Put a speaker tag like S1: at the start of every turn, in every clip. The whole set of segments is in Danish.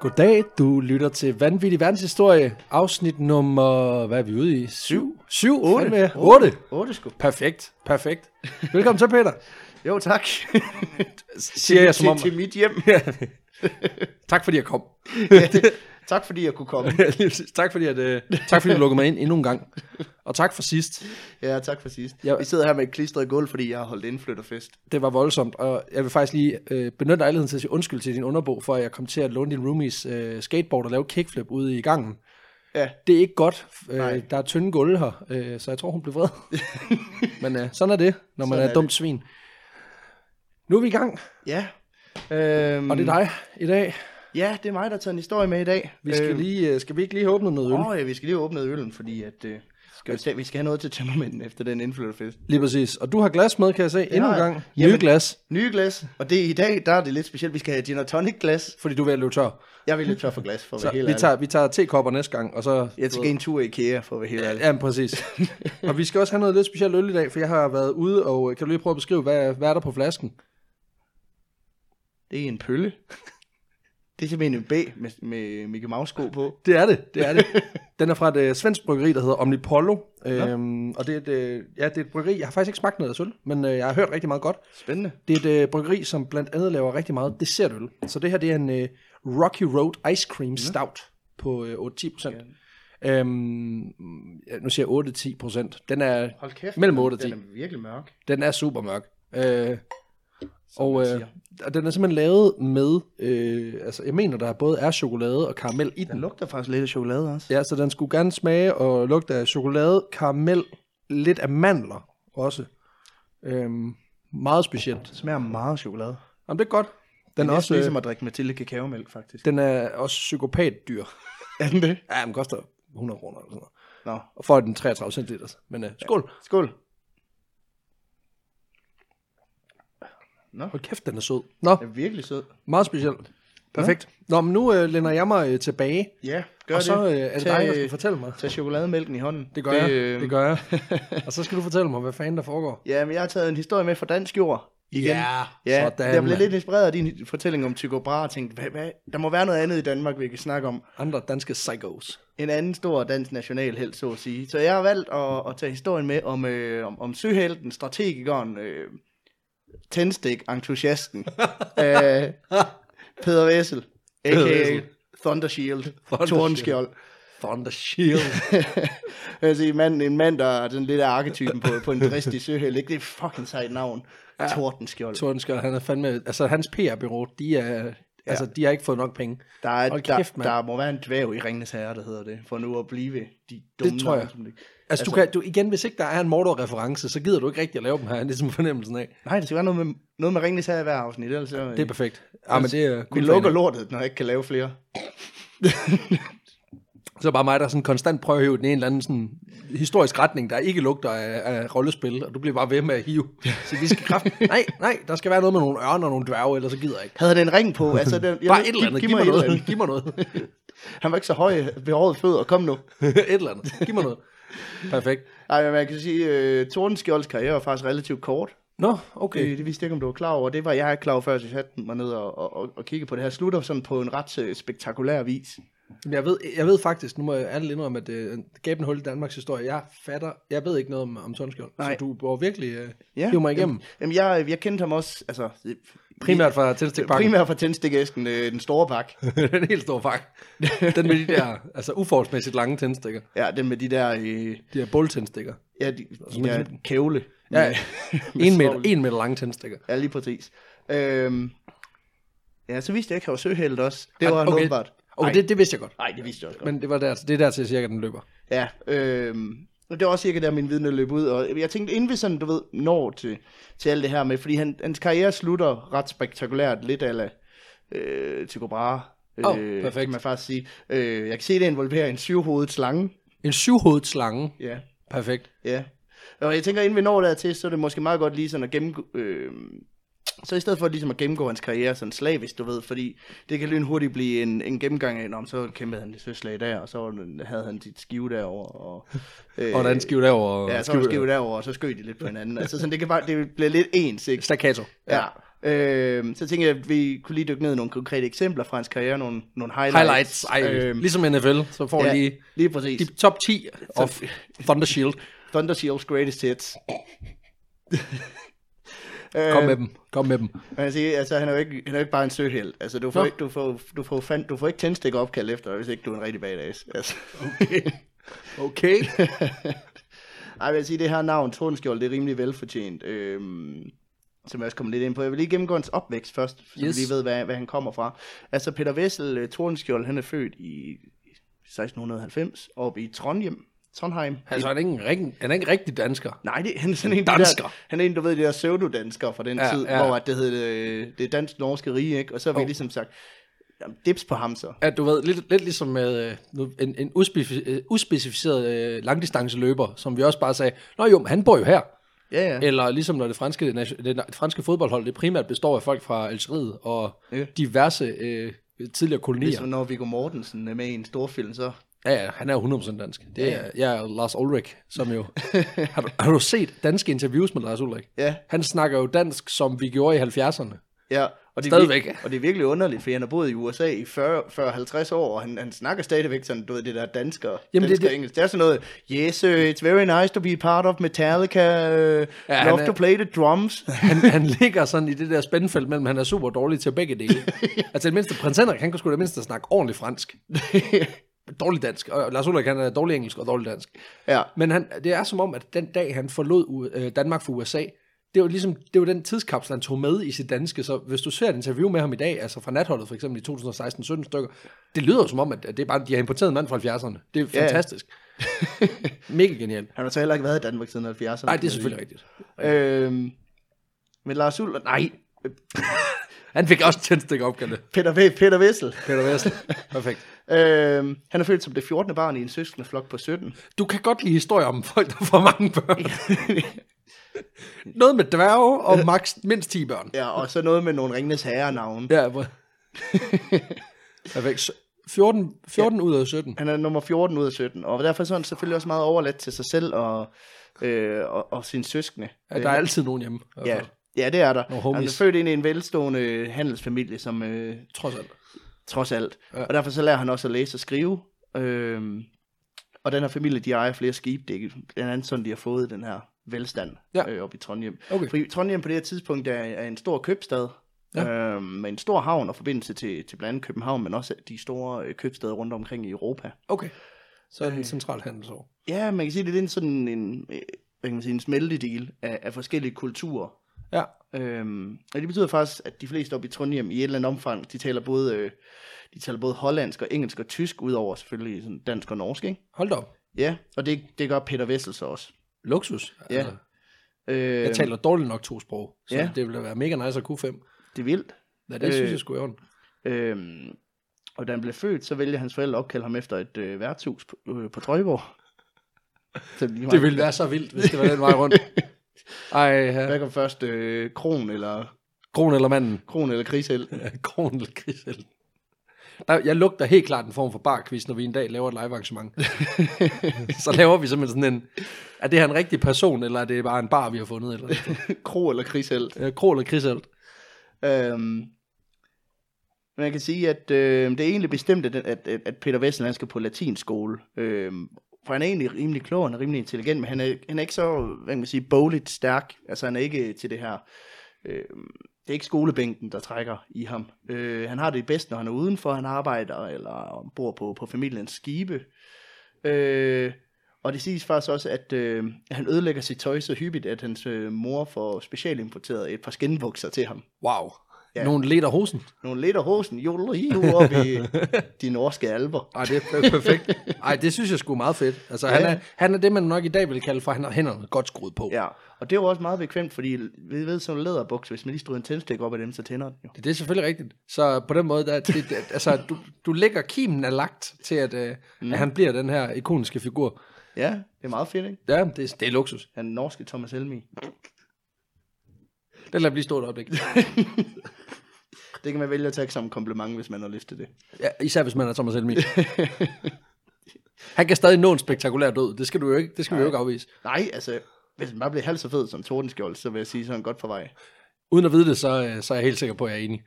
S1: Goddag, du lytter til Vanvittig Verdenshistorie, afsnit nummer, hvad er vi ude i? 7? 7, 8? 8?
S2: 8 sgu.
S1: Perfekt, perfekt. Velkommen til, Peter.
S2: Jo, tak.
S1: Siger jeg som om,
S2: til, til mit hjem.
S1: tak fordi jeg kom.
S2: tak fordi jeg kunne komme.
S1: Lige præcis. tak, fordi, at, øh, tak fordi du lukkede mig ind endnu en gang. Og tak for sidst.
S2: Ja, tak for sidst.
S1: Ja.
S2: Vi sidder her med et klistret gulv, fordi jeg har holdt indflytterfest.
S1: Det var voldsomt, og jeg vil faktisk lige øh, benytte lejligheden til at sige undskyld til din underbo, for at jeg kom til at låne din roomies øh, skateboard og lave kickflip ude i gangen.
S2: Ja,
S1: Det er ikke godt.
S2: Nej.
S1: Øh, der er tynde gulve her, øh, så jeg tror, hun blev vred. Men øh, sådan er det, når man
S2: Sådan
S1: er
S2: er
S1: et dumt svin. Nu er vi i gang,
S2: ja. Øhm,
S1: og det er dig i dag.
S2: Ja, det er mig, der tager en historie med i dag.
S1: Mm. Vi skal,
S2: Øhm,
S1: lige, øh, skal vi ikke lige have åbnet noget øl?
S2: Åh, ja, vi skal lige have åbnet øllen, fordi at, øh, skal vi, vi skal have noget til tømmermænden efter den indflytterfest.
S1: Lige præcis. Og du har glas med, kan jeg se, endnu
S2: har
S1: en
S2: jeg.
S1: gang. Nye
S2: Jamen-
S1: glas,
S2: Nye glas, og det er i dag, der er det lidt specielt. Vi skal have gin og tonic glas.
S1: fordi du er ved at løbe tør.
S2: Jeg vil lidt tør for glas, for at
S1: Så
S2: være helt
S1: vi
S2: ærlig.
S1: tager, vi tager tekopper næste gang, og så...
S2: Jeg skal en tur i IKEA, for at være helt ærlig.
S1: Ja, men præcis. og vi skal også have noget lidt specielt øl i dag, for jeg har været ude, og øh, kan du lige prøve at beskrive, hvad, hvad er der på flasken?
S2: Det er en pølle. Det er simpelthen en B med, med Mickey Mouse-sko på.
S1: Det er det, det er det. Den er fra et øh, svensk bryggeri, der hedder Omnipollo. Øhm, og det er, et, øh, ja, det er et bryggeri, jeg har faktisk ikke smagt noget af øl, men øh, jeg har hørt rigtig meget godt.
S2: Spændende.
S1: Det er et øh, bryggeri, som blandt andet laver rigtig meget dessertøl. Så det her, det er en øh, Rocky Road Ice Cream Stout på øh, 8-10 procent. Øhm, ja, nu siger jeg 8-10 procent. Den er,
S2: Hold kæft.
S1: Mellem
S2: den-
S1: otte og ti.
S2: Den er virkelig mørk.
S1: den er super mørk. Øh, og,
S2: man
S1: øh,
S2: siger.
S1: og den er simpelthen lavet med, øh, altså jeg mener, der både er chokolade og karamel i
S2: Den
S1: den.
S2: lugter faktisk lidt af chokolade også.
S1: Ja, så den skulle gerne smage og lugte af chokolade, karamel, lidt af mandler også. Øhm, meget specielt.
S2: Den smager meget af chokolade.
S1: Jamen, det er godt. Den
S2: Den
S1: er,
S2: er også
S1: også,
S2: ligesom
S1: øh,
S2: at drikke Mathilde kakaomælk, faktisk.
S1: den er også psykopatdyr.
S2: Er den det?
S1: Ja, den koster 100 kroner eller sådan noget.
S2: Nå.
S1: Og for den 33 centiliter. Men øh, skål.
S2: Skål.
S1: Hold kæft, den er sød. Nå,
S2: Den er virkelig sød.
S1: meget specielt. Perfekt. Nå, men nu øh, lænder jeg mig øh, tilbage.
S2: Ja, gør
S1: og så øh,
S2: det.
S1: er det dig, der skal fortælle mig.
S2: Tag øh, chokolademælken i hånden.
S1: Det gør det, jeg. Det gør jeg. og så skal du fortælle mig, hvad fanden der foregår.
S2: Ja, men jeg har taget en historie med fra dansk jord. Igen. Ja,
S1: sådan,
S2: jeg blev
S1: mand.
S2: lidt inspireret af din fortælling om Tycho Brahe og tænkte, hvad, hvad? der må være noget andet i Danmark, vi kan snakke om.
S1: Andre danske psychos.
S2: en anden stor dansk nationalhelt, så at sige. Så jeg har valgt at, at tage historien med om, øh, om, om søhelten, strategikeren, øh, tændstik-entusiasten, øh, Peder Vessel,
S1: Peder
S2: a.k.a.
S1: Wessel.
S2: Thunder Shield,
S1: Shield.
S2: Tordenskjold.
S1: Thunder Shield.
S2: altså en mand, en mand, der er den lidt af arketypen på, på en dristig søhelt, ikke? Det er fucking sejt navn, ja. Tordenskjold.
S1: Tordenskjold, han er fandme... Altså, hans PR-bureau, de er... Ja. Altså, de har ikke fået nok penge.
S2: Der, er,
S1: Hold
S2: der,
S1: kæft, mand.
S2: der må være en dværg i Ringnes Herre, der hedder det, for nu at blive de dumme
S1: Det tror jeg.
S2: navne, som det-
S1: Altså, du kan, du, igen, hvis ikke der er en Mordor-reference, så gider du ikke rigtig at lave dem her, det er ligesom fornemmelsen af.
S2: Nej, det skal være noget med, noget med Ringnes Herre i hver afsnit, ellers så... øh, altså,
S1: Det er perfekt. Ja, men det er
S2: Vi
S1: kun
S2: lukker
S1: lukker.
S2: lortet, når jeg ikke kan lave flere.
S1: Så er bare mig, der sådan konstant prøver at hive den ene eller anden sådan historisk retning, der ikke lugter af, af rollespil, og du bliver bare ved med at hive. Så vi skal kraft. Nej, nej, der skal være noget med nogle ørner og nogle dværge, ellers så gider jeg ikke.
S2: Havde han en ring på? Altså, den, jeg,
S1: Bare et eller andet, giv, mig,
S2: et
S1: noget,
S2: eller andet.
S1: giv mig noget.
S2: Han var ikke så høj ved håret fødder. Kom nu.
S1: et eller andet. Giv mig noget. Perfekt.
S2: Ej, men man kan sige, at øh, Tordenskjolds karriere var faktisk relativt kort.
S1: Nå, okay.
S2: Øh, det vidste jeg ikke, om du var klar over. Det var jeg ikke klar over, før jeg satte mig ned og, og, og, og kiggede på det her. Slutter sådan på en ret øh, spektakulær vis.
S1: Men Jeg ved, jeg ved faktisk, nu må jeg alle indrømme, at uh, gaben hul i Danmarks historie, jeg fatter, jeg ved ikke noget om, om Tordenskjold. Så
S2: Nej.
S1: du bør virkelig uh, ja, hive mig igennem.
S2: Jamen, jeg, jeg kendte ham også, altså... øh,
S1: Primært fra tændstikpakken.
S2: Primært fra tændstikæsken, øh, den store pakke.
S1: den helt store pakke. Den med de der, altså uforholdsmæssigt lange tændstikker.
S2: Ja, den med de der... Øh,
S1: De der båltændstikker.
S2: ja, de, de der kævle.
S1: Ja, en meter,
S2: svovl.
S1: en meter lange tændstikker.
S2: Ja, lige præcis. Øhm, ja, så vidste jeg ikke, at han var søhelt også. Det var han okay. åbenbart.
S1: Okay, det, det vidste jeg godt.
S2: Nej, det vidste jeg også godt. Men...
S1: Men det, var der, altså, det er der til cirka, den løber.
S2: Ja, øhm, og det var også cirka der, min viden løb ud. Og jeg tænkte, inden vi sådan, du ved, når til, til alt det her med, fordi han, hans karriere slutter ret spektakulært, lidt ala øh, Tycho Brahe.
S1: Åh, perfekt.
S2: Kan man faktisk sige. Øh, jeg kan se, det involverer en syvhovedet slange.
S1: En syvhovedet slange.
S2: Ja,
S1: Perfekt.
S2: Ja. Og jeg tænker, inden vi når dertil, så er det måske meget godt lige sådan at gennemgå... Øh, så i stedet for ligesom at gennemgå hans karriere sådan slavisk, du ved, fordi det kan lynhurtigt blive en, en gennemgang af, om så kæmpede han det søslag der, og så havde han sit skive derovre. Og, øh,
S1: Og der er en skive derovre.
S2: Ja, så var der skive derovre, og så skød de lidt på hinanden. altså sådan, det, kan bare, det bliver lidt ens, ikke?
S1: Staccato.
S2: Ja. Øh, så tænkte jeg, at vi kunne lige dykke ned i nogle konkrete eksempler fra hans karriere, nogle, nogle highlights. Øhm,
S1: Highlights. Ej, øh, ligesom NFL, så får
S2: ja,
S1: ja. lige
S2: lige præcis.
S1: de top 10 of Thunder Shield.
S2: Thunder Shields greatest hits. Øh,
S1: Kom med dem. Kom med dem.
S2: Men altså, altså, han er jo ikke, han er jo ikke bare en sød held. Altså, du får,
S1: Nå.
S2: ikke, du får, du får, fand, du får ikke tændstikker opkald efter, hvis ikke du er en rigtig badass. Altså.
S1: Okay.
S2: Ej, jeg vil sige, det her navn, Tordenskjold, det er rimelig velfortjent. Øhm, som jeg også kommer lidt ind på. Jeg vil lige gennemgå hans opvækst først, så yes.
S1: Yes.
S2: vi lige ved, hvad, hvad han kommer fra. Altså, Peter Vessel øh, Tordenskjold, han er født i 1690 oppe i Trondheim. Trondheim.
S1: altså, han er ikke, en rigtig, han er ikke rigtig dansker.
S2: Nej, det, han er sådan en,
S1: Dansker.
S2: De der, han er en, du ved, de der pseudodanskere fra den ja,
S1: Ja,
S2: tid, ja.
S1: ja.
S2: hvor at det hed øh, det dansk-norske rige, ikke? Og så har vi oh.
S1: Jo.
S2: ligesom sagt, jamen, dips på ham så.
S1: Ja, du ved, lidt, lidt ligesom med øh, nu- en, en uspecifi- øh, uspecificeret øh, langdistanceløber, som vi også bare sagde, Nå jo, men han bor jo her.
S2: Ja, ja.
S1: Eller ligesom når det franske, nation- det, det franske fodboldhold, det primært består af folk fra Algeriet og
S2: Ja.
S1: diverse øh, tidligere kolonier.
S2: Ligesom når Viggo Mortensen er med i en storfilm, så...
S1: Ja, ja, han er jo 100% dansk. Det er, jeg er jo Lars Ulrik, som jo... har, du, har du set danske interviews med Lars Ulrik?
S2: Ja,
S1: Han snakker jo dansk, som vi gjorde i 70'erne.
S2: ja. Og det, er
S1: Stadigvæk.
S2: virkelig- og det er virkelig underligt, fordi han har boet i USA i 40-50 år, og han, han snakker stadigvæk sådan, du ved, det der dansker, Jamen,
S1: Jamen, det-
S2: dansker det,
S1: det-
S2: engelsk. Det er sådan noget, yes, uh, it's very nice to be part of Metallica, uh, ja,
S1: Ja,
S2: love
S1: han er-
S2: to play the drums.
S1: Han, han ligger sådan i det der spændfelt mellem, han er super dårlig til begge dele. altså det mindste, prins Henrik, han kunne sgu det mindste snakke ordentligt fransk. Dårlig dansk. Og Lars Ulrik, han er dårlig engelsk og dårlig dansk.
S2: ja,
S1: Men han, det er som om, at den dag, han forlod U- øh, Danmark for USA, det var ligesom det var den tidskapsel, han tog med i sit danske. Så hvis du ser et interview med ham i dag, altså fra natholdet for eksempel i 2016-17 stykker, det lyder jo som om, at det er bare, de har importeret en mand fra 70'erne. Det er
S2: Ja, ja.
S1: fantastisk. Mega genialt.
S2: han har så heller ikke været i Danmark siden 70'erne.
S1: Nej, det er selvfølgelig rigtigt.
S2: Øhm, men Lars Ulrik, nej,
S1: Han fik også tændstikker opkaldet.
S2: Peter, v- Peter Vessel.
S1: Peter Vest. Perfekt.
S2: Øhm, han er født som det 14. barn i en søskendeflok på 17.
S1: Du kan godt lide historier om folk, der får mange børn. Noget med dværge og max, mindst 10 børn.
S2: Ja, og så noget med nogle Ringnes Herre-navne.
S1: Ja, hvor... Perfekt. Så 14, 14 ud af 17.
S2: Han er nummer 14 ud af 17, og derfor så er han selvfølgelig også meget overladt til sig selv og, øh, og, og sine søskende. Øh,
S1: Ja, der er altid nogen hjemme. i hvert
S2: ja,
S1: fald.
S2: ja, det er der.
S1: Nogle
S2: han er
S1: homies.
S2: født ind i en velstående handelsfamilie, som øh,
S1: Trods alt.
S2: trods alt. Ja.
S1: Ja.
S2: Og derfor så lærer han også at læse og skrive. Øhm, og den her familie, de ejer flere skibe. Det er blandt andet sådan, de har fået den her velstand ja.
S1: Ja.
S2: øh, op i Trondheim.
S1: Okay.
S2: Fordi Trondheim på det her tidspunkt er, er en stor købstad. Ja.
S1: Ja.
S2: Øhm, med en stor havn og forbindelse til, til blandt andet København, men også de store øh, købsteder rundt omkring i Europa.
S1: Okay. Så er det en central handelsår.
S2: Ja, man kan sige, det er lidt sådan en, øh, hvad kan man sige, en smeltedeal af, af forskellige kulturer.
S1: Ja.
S2: Øhm, og det betyder faktisk, at de fleste oppe i Trondheim i et eller andet omfang, de taler både, øh, de taler både hollandsk og engelsk og tysk, udover selvfølgelig sådan dansk og norsk, ikke?
S1: Hold da op.
S2: Ja, og det, det gør Peter Vessel så også.
S1: Luksus.
S2: Ja.
S1: Altså,
S2: Øh,
S1: jeg taler dårligt nok to sprog, så
S2: Ja.
S1: ja. det ville være mega nice at kunne fem.
S2: Det er vildt.
S1: Ja, det øh. synes jeg skulle ordentligt.
S2: Øhm, og da han blev født, så vælger hans forældre at opkalde ham efter et øh, værtshus på, øh, på Trøjborg. Så lige meget-
S1: Det ville være så vildt, hvis det var den vej rundt. Ej, ja.
S2: Hvad kom først, øh, kron eller,
S1: Kron eller manden?
S2: kron eller krigsheld?
S1: Kron eller Grisel. Der, jeg lugter helt klart en form for barquiz, når vi en dag laver et live-arrangement. så laver vi simpelthen sådan en... Er det her en rigtig person, eller er det bare en bar, vi har fundet? Eller
S2: kro eller krigsheld?
S1: øh, Kron eller Grisel.
S2: Øhm, man kan sige, at øh, det er egentlig bestemt, at, at, at- at Peter Vessel han skal på latinskole. Øhm, for han er egentlig rimelig klog, han er rimelig intelligent, men han er, han er ikke så, hvad kan man sige, bogligt stærk. Altså han er ikke til det her, øh, det er ikke skolebænken, der trækker i ham. Øh, han har det bedst, når han er udenfor, han arbejder eller bor på, på familiens skibe. Øh, og det siges faktisk også, at øh, han ødelægger sit tøj så hyppigt, at hans øh, mor får specialimporteret et par skinbukser til ham
S1: Wow.
S2: Ja.
S1: Ja. Nogle leder hosen.
S2: nogle lidt af hosen, jolerive op i de norske alber.
S1: Ej, det er per- perfekt. Ej, det synes jeg sgu er meget fedt. Altså, ja. han, er, han er det, man nok i dag vil kalde for, han har hænderne godt skruet på. Ja.
S2: Ja, og det var også meget bekvemt, fordi vi ved sådan en læderbukser, hvis man lige stryger en tændstik op af dem, så tænder den jo.
S1: Det er selvfølgelig rigtigt. Så på den måde, der, det, det, altså, du, du lægger kimen er lagt til, at, øh, mm. at han bliver den her ikoniske figur.
S2: Ja, det er meget fedt, ikke?
S1: Ja, det, er- det er luksus.
S2: Han er norske Thomas Helmi.
S1: Den lader blive stå et øjeblik.
S2: Det kan man vælge at tage som kompliment, hvis man har lyst til det.
S1: Ja, især hvis man er Thomas Helmi. Han kan stadig nå en spektakulær død. Det skal, du jo ikke, det skal vi jo ikke afvise.
S2: Nej, altså, hvis man bare bliver halvt så fed som Tordenskjold, så vil jeg sige, så er han godt på vej.
S1: Uden at vide det, så, øh, så er jeg helt sikker på, at jeg er enig.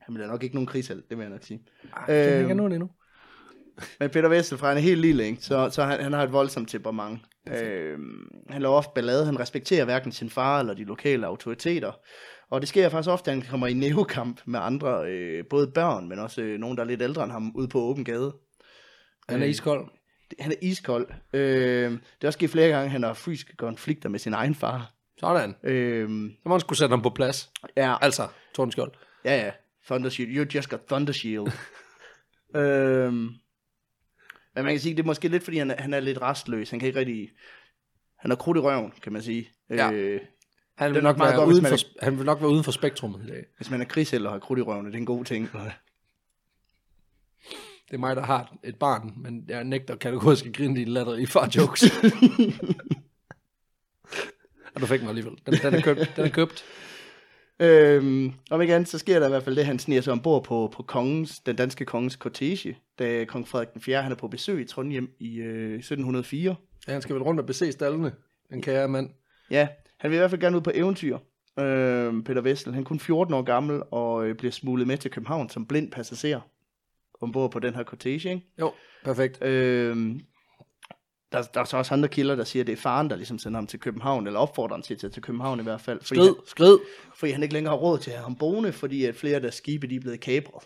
S2: Han bliver nok ikke nogen krigshelt, det vil jeg nok sige.
S1: Øh,
S2: Øhm,
S1: jeg kan nå det endnu.
S2: Men Peter Vesselfra, han er helt lille, ikke? Så, så han, han har et voldsomt temperament. Øhm, han laver ofte ballade, han respekterer hverken sin far eller de lokale autoriteter. Og det sker faktisk ofte, at han kommer i neokamp med andre, øh, både børn, men også øh, nogen, der er lidt ældre end ham, ude på åben gade.
S1: Han er iskold.
S2: Det- Han er iskold. Øh, det er også sket flere gange, at han har fysiske konflikter med sin egen far.
S1: Sådan.
S2: Øh,
S1: Så må han skulle sætte ham på plads.
S2: ja,
S1: Altså, Tordenskjold.
S2: Ja, ja. Thunder Shield. You just got Thunder Shield. øhm, men man kan sige, det er måske lidt, fordi han er, han er lidt restløs. Han kan ikke rigtig... Han har krudt i røven, kan man sige.
S1: Ja. Han
S2: Øh, Det
S1: vil,
S2: er
S1: nok
S2: nok meget
S1: være
S2: godt, hvis
S1: uden
S2: man
S1: for, han vil nok være uden for spektrummet i dag.
S2: hvis man er krigshælder og har krudt i røven, er det en god ting.
S1: Det er mig, der har et barn, men jeg nægter kategorisk at grine dine latterlige far-jokes. og du fik mig alligevel. Den, den, er købt, den er købt.
S2: øhm, om ikke andet, så sker der i hvert fald det, han sniger sig ombord på, på kongens, den danske kongens kortege, da kong Frederik den 4. han er på besøg i Trondheim i øh, 1704.
S1: Ja, han skal vel rundt og bese stallene, den kære mand.
S2: Ja, han vil i hvert fald gerne ud på eventyr. Øh, Peter Vessel, han er kun 14 år gammel og øh, bliver smuglet med til København som blind passager ombord på den her cortege. Ikke?
S1: Jo, perfekt.
S2: Øh, der, der er så også andre kilder, der siger, at det er faren, der ligesom sender ham til København, eller opfordrer ham til at tage til København i hvert fald. Fordi,
S1: Skrid,
S2: Han,
S1: skrid.
S2: fordi han ikke længere har råd til at have ham boende, fordi at flere af deres skibe de er blevet kapret.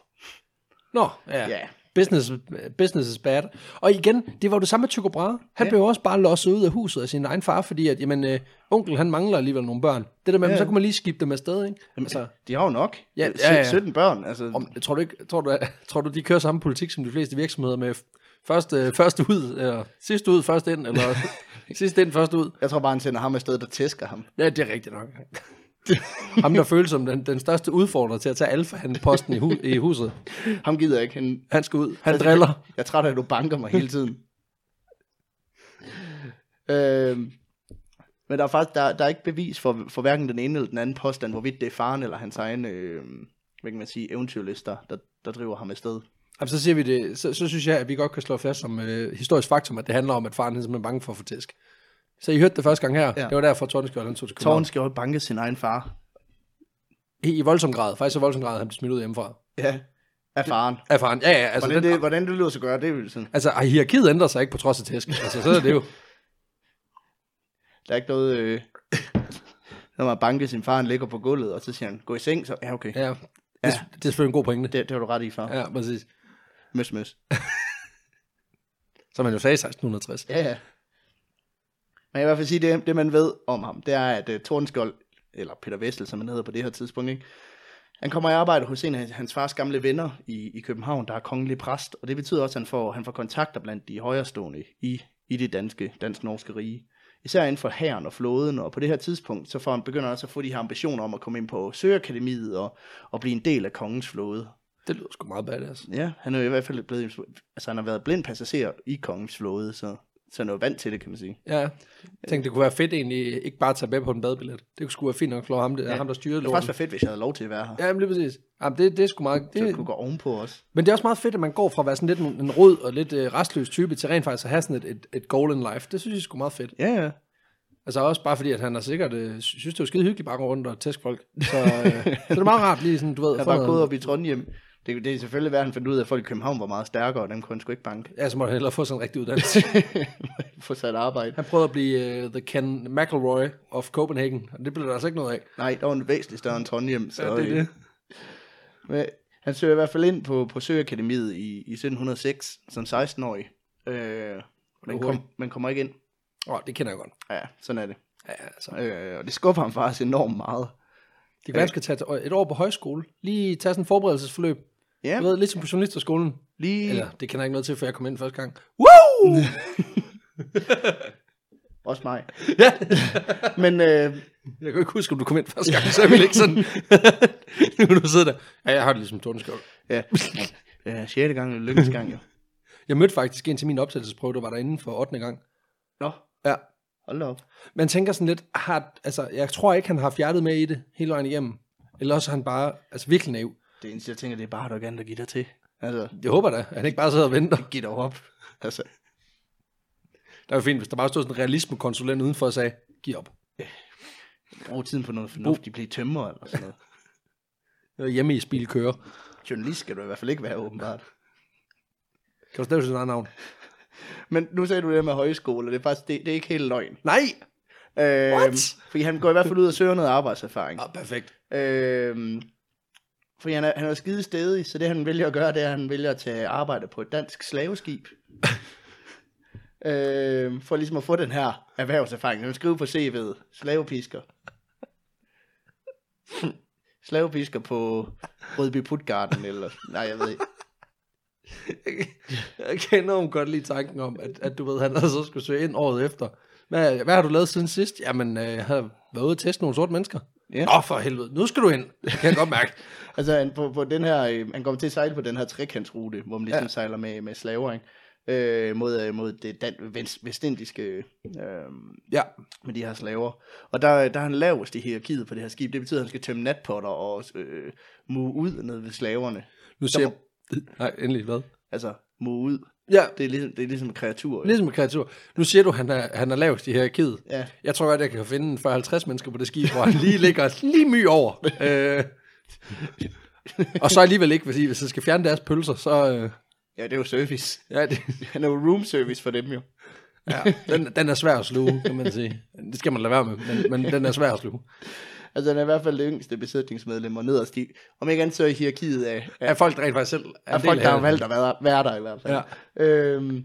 S1: Nå, ja.
S2: Ja.
S1: Business, business is bad. Og igen, det var jo det samme med Tycho Brahe. Han
S2: Ja.
S1: ja. blev jo også bare losset ud af huset af sin egen far, fordi at, jamen, øh, onkel han mangler alligevel nogle børn. Det der med,
S2: Ja.
S1: ja. så kunne man lige skifte dem afsted, ikke?
S2: Jamen,
S1: Altså,
S2: De har jo nok.
S1: Ja,
S2: Øh,
S1: ja, ja.
S2: 17 børn. Altså,
S1: Om, tror, du ikke, tror, du, tror du, de kører samme politik som de fleste virksomheder med f- først, øh, først ud, eller sidst ud, først ind, eller sidst ind, først ud?
S2: Jeg tror bare, han sender ham afsted, der tæsker ham.
S1: Ja, det er rigtigt nok. Ham, der føles som den, den største udfordrer til at tage alfa han posten i, hu- i huset.
S2: Ham gider jeg ikke. Han,
S1: Han skal ud. Han driller.
S2: Jeg er træt af, at du banker mig hele tiden. øhm, men der er faktisk der, der er ikke bevis for, for hverken den ene eller den anden påstand, hvorvidt det er faren eller hans egen øh, hvad kan man sige, eventyrlister, der, der driver ham afsted.
S1: Jamen, så siger vi det. Så, så synes jeg, at vi godt kan slå fast som øh, historisk faktum, at det handler om, at faren er simpelthen bange for at få tæsk. Så I hørte det første gang her.
S2: Ja.
S1: Ja. Det var derfor, Tordenskjold han tog til København.
S2: Tårn skal jo banke sin egen far.
S1: I, I voldsom grad. Faktisk så voldsom grad, at han blev smidt ud hjemmefra.
S2: Ja, af faren.
S1: Af faren. Ja, ja. Altså,
S2: Hvordan det, hvordan det lyder sig gøre, det er jo sådan.
S1: Altså, ej, hierarkiet ændrer sig ikke på trods af tæsk. Altså, så er det jo...
S2: Der er ikke noget... Øh, når man banker sin far, han ligger på gulvet, og så siger han, gå i seng, så ja okay.
S1: Ja, det, ja. det er selvfølgelig en god pointe.
S2: Det, det var du ret i, far. Ja.
S1: Ja, præcis.
S2: Møs, møs.
S1: Som man jo sagde i 1660.
S2: Ja, ja. Man kan i hvert fald sige, det, det man ved om ham, det er, at uh, Tordenskjold, eller Peter Vessel, som han hedder på det her tidspunkt, ikke? han kommer i arbejde hos en af hans- hans fars gamle venner i, i København, der er kongelig præst, og det betyder også, at han får, han får kontakter blandt de højrestående i, i det danske, dansk-norske rige. Især inden for hæren og flåden, og på det her tidspunkt, så får han, begynder han også at få de her ambitioner om at komme ind på Søakademiet og, og blive en del af kongens flåde.
S1: Det lyder sgu meget badass.
S2: Ja, han er jo i hvert fald blevet, altså han har været blind passager i kongens flåde, så, så han er jo vant til det, kan man sige.
S1: Ja, jeg tænkte, det kunne være fedt egentlig, ikke bare at tage med på en badbillet. Det kunne sgu være fint nok at slå ham, det, ja. ham der styrede
S2: Det ville faktisk
S1: lorten.
S2: være fedt, hvis jeg havde lov til at være her. Ja.
S1: Ja, men lige præcis. Jamen, det, det er sgu meget...
S2: Så jeg
S1: Det,
S2: kunne gå ovenpå os.
S1: men det er også meget fedt, at man går fra at være sådan lidt en, en rød og lidt øh, restløs type, til rent faktisk at have sådan et, et, et goal in life. Det synes jeg er sgu meget fedt.
S2: Ja, ja.
S1: Altså også bare fordi, at han er sikkert øh, synes, det er skide hyggeligt bare at gå rundt og tæske folk. Så, øh, så det er meget rart lige sådan, du ved... at
S2: Jeg
S1: få
S2: var
S1: noget-
S2: gået op i Trondheim. Det, det er selvfølgelig værd, at han fandt ud af, at folk i København var meget stærkere, og dem kunne han sgu ikke banke.
S1: Ja, så må han hellere få sådan en rigtig uddannelse.
S2: Få sat arbejde.
S1: Han prøvede at blive uh, The Ken McElroy of Copenhagen, og det blev der altså ikke noget af.
S2: Nej, der var en væsentlig større end Trondheim. Så,
S1: Ja, det er
S2: øh,
S1: det.
S2: Men han søger i hvert fald ind på, på Søakademiet i, i 1706, som 16-årig. Øh, men, kom, men kommer ikke ind.
S1: Åh, oh, det kender jeg godt.
S2: Ja, sådan er det.
S1: Ja, altså.
S2: Øh, og det skuffer ham faktisk enormt meget.
S1: Det kan være, han skal tage et- et år på højskole. Lige tage sådan en forberedelsesforløb.
S2: Ja,
S1: Du ved, lidt som på journalisterskolen.
S2: lige...
S1: Eller, det kender jeg ikke noget til, før jeg kom ind første gang. Woo!
S2: Også mig.
S1: ja.
S2: Men øh,
S1: Jeg kan ikke huske, om du kom ind første gang, så jeg ville ikke sådan... nu kan du sidde der. Ja, jeg har det ligesom Tordenskjold.
S2: ja. ja, 6. gang er lykkens gang, jo.
S1: Jeg mødte faktisk en til min optagelsesprøve, der var derinde for 8. gang.
S2: Nå,
S1: Ja.
S2: hold da op.
S1: Man tænker sådan lidt, har, altså, jeg tror ikke, han har haft hjertet med i det hele vejen igennem. Eller også er han bare, altså virkelig naiv.
S2: Det eneste, jeg tænker, det er bare, at du ikke andet at give dig til. Altså,
S1: Jeg håber da, at han ikke bare sidder og venter.
S2: giv dig op. Altså,
S1: Det var fint, hvis der bare stod sådan en realismekonsulent udenfor og sagde, giv op.
S2: Brug tiden på noget fornuftigt, blive tømmer eller sådan noget.
S1: Eller Hjemme i spil kører.
S2: Journalist skal du i hvert fald ikke være, åbenbart.
S1: Kan du stadig sit eget navn?
S2: Men nu sagde du det med højskole, og det er faktisk det, det er ikke helt løgn.
S1: Nej!
S2: Øhm,
S1: What?
S2: Fordi han går i hvert fald ud og søger noget arbejdserfaring.
S1: Ah, perfekt.
S2: Øhm, fordi han er, han er skide stedig, så det han vælger at gøre, det er, at han vælger at tage arbejde på et dansk slaveskib. øhm, for ligesom at få den her erhvervserfaring. Han skriver på CV'et, slavepisker. slavepisker på Rødby Putgarden, eller... Nej, jeg ved ikke.
S1: Jeg kan enormt godt lide tanken om, at, at du ved, han altså skulle søge ind året efter. Hvad, hvad har du lavet siden sidst? Jamen, øh, jeg har været ude og teste nogle sorte mennesker.
S2: Ja.
S1: Nå, for helvede. Nu skal du ind. Det kan jeg godt mærke.
S2: Altså, han, på, på den her, øh, han kommer til at sejle på den her trekantsrute, hvor man ligesom
S1: Ja.
S2: ja. sejler med, med slaver, ikke? Øh, mod, øh, mod det dan- vest, vestindiske, øh,
S1: Ja.
S2: med de her slaver. Og der, der er han lavest i hierarkiet på det her skib. Det betyder, at han skal tømme natpotter og øh, mu ud ned ved slaverne.
S1: Nu siger jeg... Nej, endelig, hvad?
S2: Altså, mu ud.
S1: Ja,
S2: Det er ligesom, det er ligesom kreaturer. Lidt.
S1: ligesom en kreatur. Nu siger du, han er, han er lavest i hierarkiet.
S2: Ja.
S1: Jeg tror godt, jeg kan finde en 40-50 mennesker på det skib, hvor han lige ligger lige my over. Øh, og så alligevel ikke, fordi hvis jeg skal fjerne deres pølser, så... Øh,
S2: ja, det er jo service.
S1: ja, det,
S2: Han er jo room service for dem jo.
S1: ja, den, den er svær at sluge, kan man sige. Det skal man lade være med, men, men den er svær at sluge.
S2: Altså, han er i hvert fald det yngste besætningsmedlem og nederst i. Om ikke andet så er hierarkiet af,
S1: Er folk der rent faktisk selv
S2: Der er
S1: en
S2: folk,
S1: del
S2: der
S1: af
S2: har
S1: det?
S2: valgt at være, være der i hvert fald.
S1: Ja.
S2: Øhm,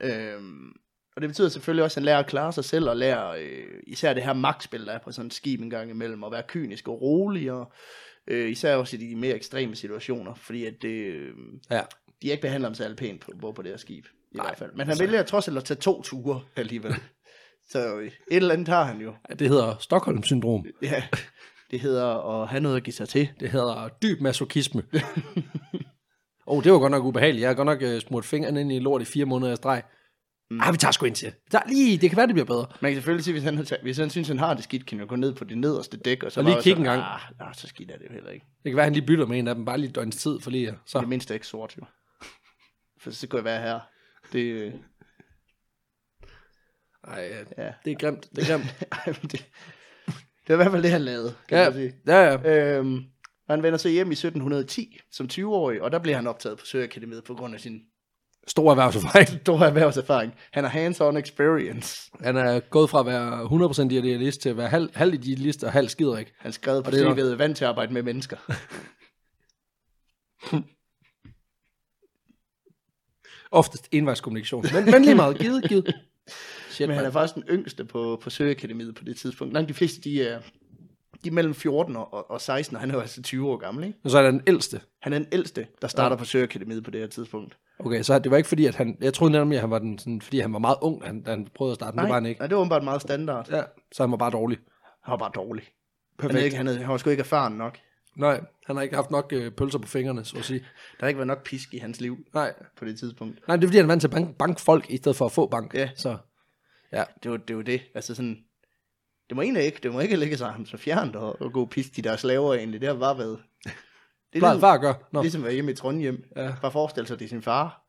S2: øhm, og det betyder selvfølgelig også, at han lærer at klare sig selv, og lærer øh, især det her magtspil, der er på sådan et skib en gang imellem, og være kynisk og rolig, og øh, især også i de mere ekstreme situationer, fordi at det, øh,
S1: Ja.
S2: de ikke behandler ham særlig pænt på, hvor på det her skib. I
S1: Nej, altså-
S2: hvert fald. Men han vælger trods alt at tage to ture alligevel. Så øh, et eller andet har han jo.
S1: Det hedder Stockholm-syndrom.
S2: Ja, det hedder at have noget at give sig til.
S1: Det hedder dyb masochisme. Åh, oh, det var godt nok ubehageligt. Jeg har godt nok øh, smurt fingrene ind i lort i fire måneder i streg. Mm. Ah, vi tager sgu ind til. Vi tager lige, det kan være, det bliver bedre.
S2: Man kan selvfølgelig sige, hvis han, har taget- hvis han synes, han har det skidt, kan han jo gå ned på det nederste dæk. Og, så
S1: Og lige
S2: bare
S1: kigge en
S2: sådan,
S1: gang.
S2: "Ah, Nå, så skidt er det jo heller ikke.
S1: Det kan være, han lige bytter med en af dem, bare lige et døgns tid for lige. at- Så.
S2: Det mindste er ikke sort, jo. For så kunne jeg være her. Det, øh,
S1: Ej, øh,
S2: Ja.
S1: det er grimt, det er grimt.
S2: ej, men det, det var i hvert fald det, han lavede, kan
S1: ja,
S2: man sige.
S1: ja, ja.
S2: Øhm, og han vender så hjem i 1710 som 20-årig, og der bliver han optaget på Søakademiet på grund af sin
S1: Stor erhvervserfaring.
S2: store erhvervserfaring. Han har hands-on experience.
S1: Han er gået fra at være 100% idealist til at være halv, halv idealist og halv skiderik.
S2: Han skrev på
S1: det er nok-
S2: CV'et, vant til at arbejde med mennesker.
S1: Oftest envejskommunikation. Men, men lige meget. Givet, givet. Shit,
S2: Men han er
S1: man.
S2: faktisk den yngste på, på Søgeakademiet på det tidspunkt. Langt de fleste, de er, de er mellem 14 og- og, og 16, og han er jo altså 20 år gammel, ikke?
S1: Og så er han den ældste.
S2: Han er den ældste, der starter på Søgeakademiet på det her tidspunkt.
S1: Okay, så det var ikke fordi, at han... Jeg troede nemlig, at han var den, sådan, fordi han var meget ung, da han, da han prøvede at starte. Nej. Det var han ikke.
S2: nej, det var åbenbart meget standard.
S1: Ja, så han var bare dårlig.
S2: Han var bare dårlig. Han, er
S1: Perfekt.
S2: ikke, han, er, han var sgu ikke erfaren nok.
S1: Nej, han har ikke haft nok øh, pølser på fingrene, så at sige.
S2: Der har ikke været nok pisk i hans liv
S1: Nej,
S2: på det tidspunkt.
S1: Nej det er fordi, han er vant til at bank, bank folk, i stedet for at få bank.
S2: Ja.
S1: Så
S2: Det var det. Var det. Altså sådan, det må egentlig ikke, det må ikke ligge sig ham så fjernt og, og gå og piske de der slaver egentlig. Det har bare været... Det
S1: plejede far at gøre. Nå.
S2: Ligesom at være hjemme i Trondheim.
S1: Ja.
S2: Ja. Bare forestille sig, det er sin far.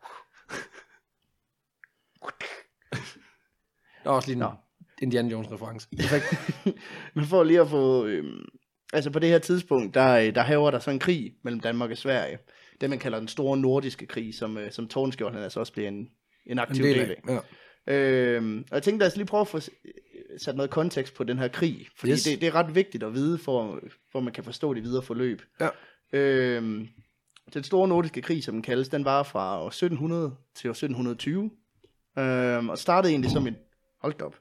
S1: Der er også lige en
S2: Nå.
S1: Indiana Jones-reference.
S2: Men for lige at få... Øhm, altså på det her tidspunkt, der, øh, der haver der så en krig mellem Danmark og Sverige. Det man kalder den store nordiske krig, som, øh, som Tornskjold han altså også bliver en, en
S1: En
S2: aktiv
S1: del
S2: del af.
S1: af. Ja.
S2: Øhm, og jeg tænkte lad os lige prøve at få s- øh, sat noget kontekst på den her krig. Fordi
S1: Yes.
S2: yes. det, det er ret vigtigt at vide, for, for man kan forstå det videre forløb.
S1: Ja.
S2: Øhm, den store nordiske krig, som den kaldes, den var fra år 1700 til år 1720. Øhm, og startede egentlig som et, hold da op,